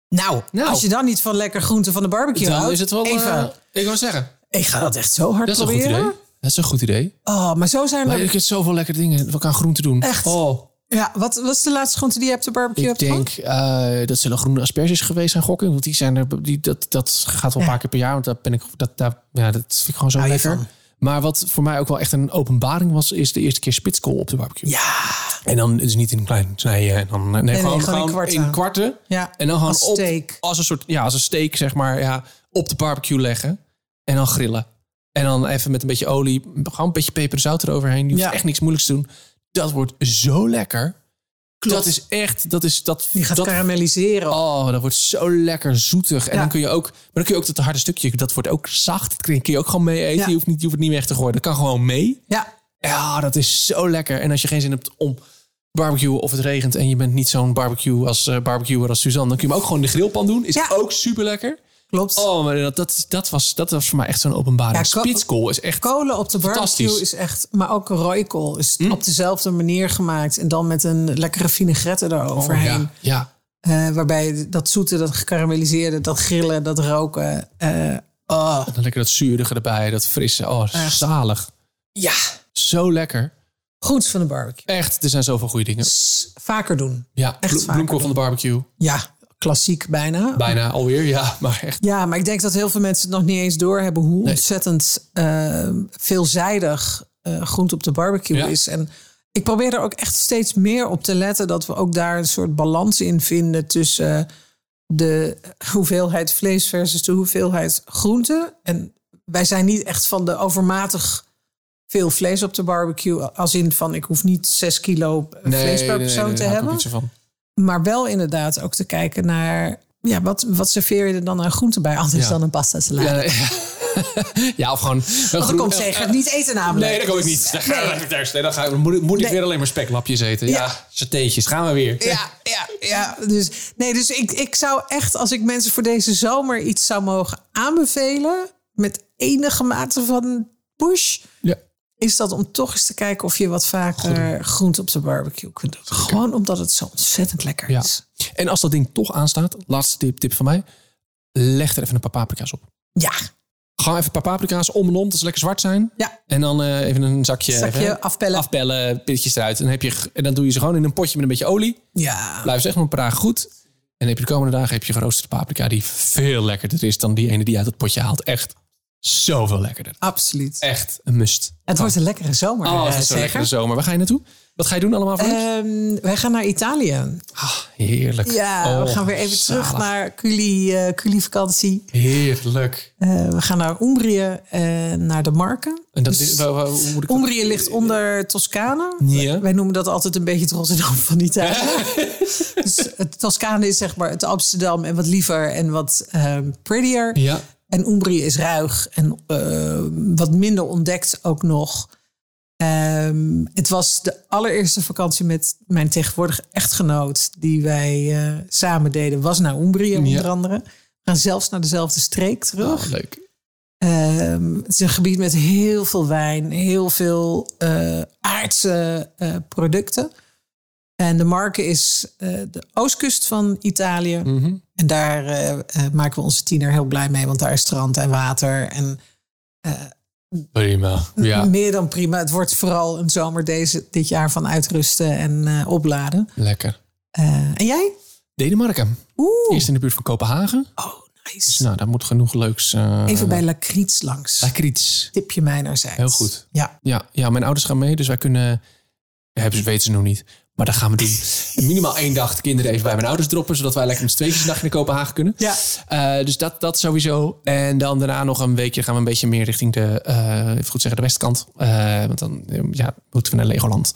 Nou,
Nou.
als je dan niet van lekker groente van de barbecue
Dan
houdt,
is het wel...
even.
eh, ik wil zeggen,
ik ga dat echt zo hard
dat is een goed
proberen.
idee. Dat is een goed idee.
Oh, maar zo zijn
Maar
er
je kunt zoveel lekkere dingen. We gaan groenten doen.
Echt.
Oh,
Ja, wat was de laatste groente die je op de barbecue
Ik
hebt gehad?
denk eh, dat zullen groene asperges geweest zijn, gokken. Want die zijn er, die, dat, dat gaat wel een paar keer per jaar. Want dat, ben ik, dat, daar, ja, dat vind ik gewoon zo
Hou je
lekker.
van?
Maar wat voor mij ook wel echt een openbaring was, is de eerste keer spitskool op de barbecue.
Ja,
En dan is niet in een klein snijje. En dan, eh, nee, gewoon,
nee,
gewoon in kwarten.
ja.
En dan gewoon
Als
op,
steak.
als een soort, ja, als een steak zeg maar, ja, op de barbecue leggen. En dan grillen. En dan even met een beetje olie, gewoon een beetje peper en zout eroverheen. Je hoeft
Ja.
echt niks moeilijks te doen. Dat wordt zo lekker.
Klopt.
Dat is echt, dat is, dat,
Die gaat
dat
karamelliseren.
Oh, dat wordt zo lekker zoetig. En
Ja.
dan kun je ook, maar dan kun je ook dat harde stukje, dat wordt ook zacht. Dat kun je ook gewoon mee eten.
Ja.
Je, hoeft niet, je hoeft het niet meer weg te gooien. Dat kan gewoon mee.
Ja,
Ja, dat is zo lekker. En als je geen zin hebt om barbecue of het regent en je bent niet zo'n barbecue als eh barbecuer als Suzanne, dan kun je hem ook gewoon in de grillpan doen. Is
Ja.
ook super lekker.
klopt.
Oh, maar dat, dat, dat, was, dat was voor mij echt zo'n openbaring.
Ja, ko-
Spitskool is echt.
Kolen op de barbecue
Fantastisch. Hm?
is echt... Maar ook rooikool is op dezelfde manier gemaakt. En dan met een lekkere vinaigrette eroverheen.
Ja, Oh, ja.
Eh, waarbij dat zoete, dat gekarameliseerde, dat grillen, dat roken. eh, oh,
En dan lekker dat zuurige erbij, dat frisse. Oh, zalig.
ja,
Zo lekker.
goed van de barbecue.
Echt, er zijn zoveel goede dingen.
S- Vaker doen.
Ja,
echt
blo-
vaker
bloemkool van de barbecue.
Ja, klassiek bijna.
Bijna alweer, ja. Maar echt.
Ja, maar ik denk dat heel veel mensen het nog niet eens doorhebben hoe
Nee.
ontzettend eh, veelzijdig eh groente op de barbecue
Ja.
is. En ik probeer er ook echt steeds meer op te letten dat we ook daar een soort balans in vinden tussen eh, de hoeveelheid vlees versus de hoeveelheid groente. En wij zijn niet echt van de overmatig veel vlees op de barbecue. Als in van ik hoef niet zes kilo eh, vlees per persoon te
daar hou ik ook
hebben.
niet zo van.
Maar wel inderdaad ook te kijken naar... Ja, wat, wat serveer je er dan aan groente bij? Anders
Ja.
dan een pasta salade.
Ja, nee. ja, of gewoon. Een
Want dan Oh, komt ze gaat niet eten namelijk. Dus,
Nee, dat kan ik niet. Dan ga, ik daar, nee, dan ga, ik- moet, ik- moet ik
Nee.
weer alleen maar speklapjes eten. Ja,
Ja.
satéetjes. Gaan we weer.
Ja, ja, ja. Dus, nee, dus ik, ik zou echt, als ik mensen voor deze zomer iets zou mogen aanbevelen... met enige mate van push...
Ja.
is dat om toch eens te kijken of je wat vaker groente op de barbecue kunt doen. Gewoon omdat het zo ontzettend lekker
Ja.
is.
En als dat ding toch aanstaat, laatste tip, tip van mij. Leg er even een paar paprika's op.
Ja,
Ga even een paar paprika's om en om, dat ze lekker zwart zijn.
ja.
En dan eh, even een zakje,
Zakje
even,
afpellen.
afpellen, pitjes eruit. En, dan heb je, ge- en dan doe je ze gewoon in een potje met een beetje olie.
ja.
Blijf ze echt nog een paar dagen goed. En dan heb je de komende dagen heb je geroosterde paprika die veel lekkerder is dan die ene die je uit het potje haalt. Echt zoveel lekkerder.
absoluut.
Echt een must.
Het wordt een lekkere zomer.
Oh,
eh,
het is zo'n
zeker.
lekkere zomer. Waar ga je naartoe? Wat ga je doen allemaal voor lunch?
Ehm, wij gaan naar Italië.
Ah, heerlijk.
Eh, Ja, we
Oh,
gaan weer even
zalig.
terug naar Culi, eh Culi vakantie.
Heerlijk.
Eh, we gaan naar Umbrië, eh, naar de Marken.
En dat is, wa- wa- hoe moet ik dat-
Umbrië ligt onder Toscane.
Ja.
Wij noemen dat altijd een beetje het Rotterdam van Italië. dus het Toscane is zeg maar het Amsterdam en wat liever en wat ehm, prettier.
Ja.
En Umbrië is ruig en eh, wat minder ontdekt ook nog. Ehm, het was de allereerste vakantie met mijn tegenwoordige echtgenoot... die wij eh, samen deden, was naar Umbrië onder
Ja.
andere. We gaan zelfs naar dezelfde streek terug.
Oh, leuk.
Ehm, het is een gebied met heel veel wijn, heel veel eh, aardse eh, producten. En de Marken is eh, de oostkust van Italië.
Mhm.
En daar eh, eh, maken we onze tiener heel blij mee, want daar is strand en water. En
Prima. Ja,
meer dan prima. Het wordt vooral een zomer deze, dit jaar van uitrusten en eh, opladen.
lekker.
Eh, en jij?
Denemarken.
Oeh,
Eerst in de buurt van Kopenhagen.
oh,
Dus
nice.
nou, daar moet genoeg leuks... eh
Even bij Lakriets langs.
Lakriets.
Tip je mij naar zijds.
Heel goed.
Ja.
Ja, ja, mijn ouders gaan mee, dus wij kunnen. ja, Hebben ze, weten ze nog niet. Maar dat gaan we doen. Minimaal één dag de kinderen even bij mijn ouders droppen. Zodat wij lekker met z'n tweetjes een dag naar Kopenhagen kunnen.
Ja.
Eh, dus dat, dat sowieso. En dan daarna nog een weekje gaan we een beetje meer richting de, eh, even goed zeggen, de westkant. Eh, want dan eh, ja, moeten we naar Legoland.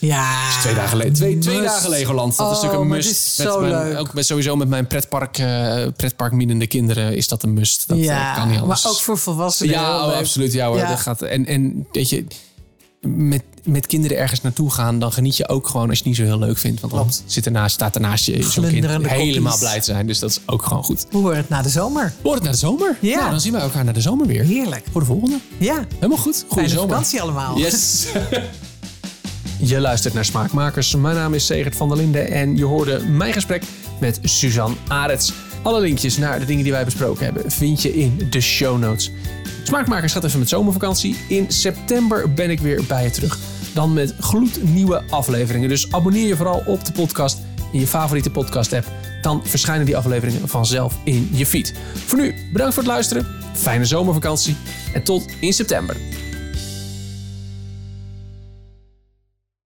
ja.
Dus Twee dagen, le- twee, twee
Must.
dagen Legoland. Dat
Oh,
is natuurlijk een
maar
must.
dit is zo
met mijn,
leuk.
Ook met, sowieso met mijn pretpark, eh pretpark mienende kinderen is dat een must. Dat eh,
ja,
kan niet anders.
maar ook voor volwassenen.
Ja,
heel
oh,
leuk.
absoluut. Ja, hoor,
Ja.
Dat gaat, en, en weet je, met, met kinderen ergens naartoe gaan, dan geniet je ook gewoon als je het niet zo heel leuk vindt. Want dan
Klopt.
zit ernaast, staat ernaast je zo'n kind
Glunderende
helemaal
koppies.
blij te zijn. Dus dat is ook gewoon goed.
Hoe wordt het na de zomer?
Wordt het naar de zomer?
Ja.
Nou, dan zien we elkaar naar de zomer weer.
Heerlijk.
Voor de volgende.
Ja,
Helemaal goed. Goeie
fijne
zomer.
vakantie allemaal.
Yes. Je luistert naar Smaakmakers. Mijn naam is Segert van der Linden en je hoorde mijn gesprek met Suzanne Arets. Alle linkjes naar de dingen die wij besproken hebben vind je in de show notes. Smaakmakers gaat even met zomervakantie. In september ben ik weer bij je terug. dan met gloednieuwe afleveringen. Dus abonneer je vooral op de podcast in je favoriete podcast app. Dan verschijnen die afleveringen vanzelf in je feed. Voor nu, bedankt voor het luisteren. Fijne zomervakantie en tot in september.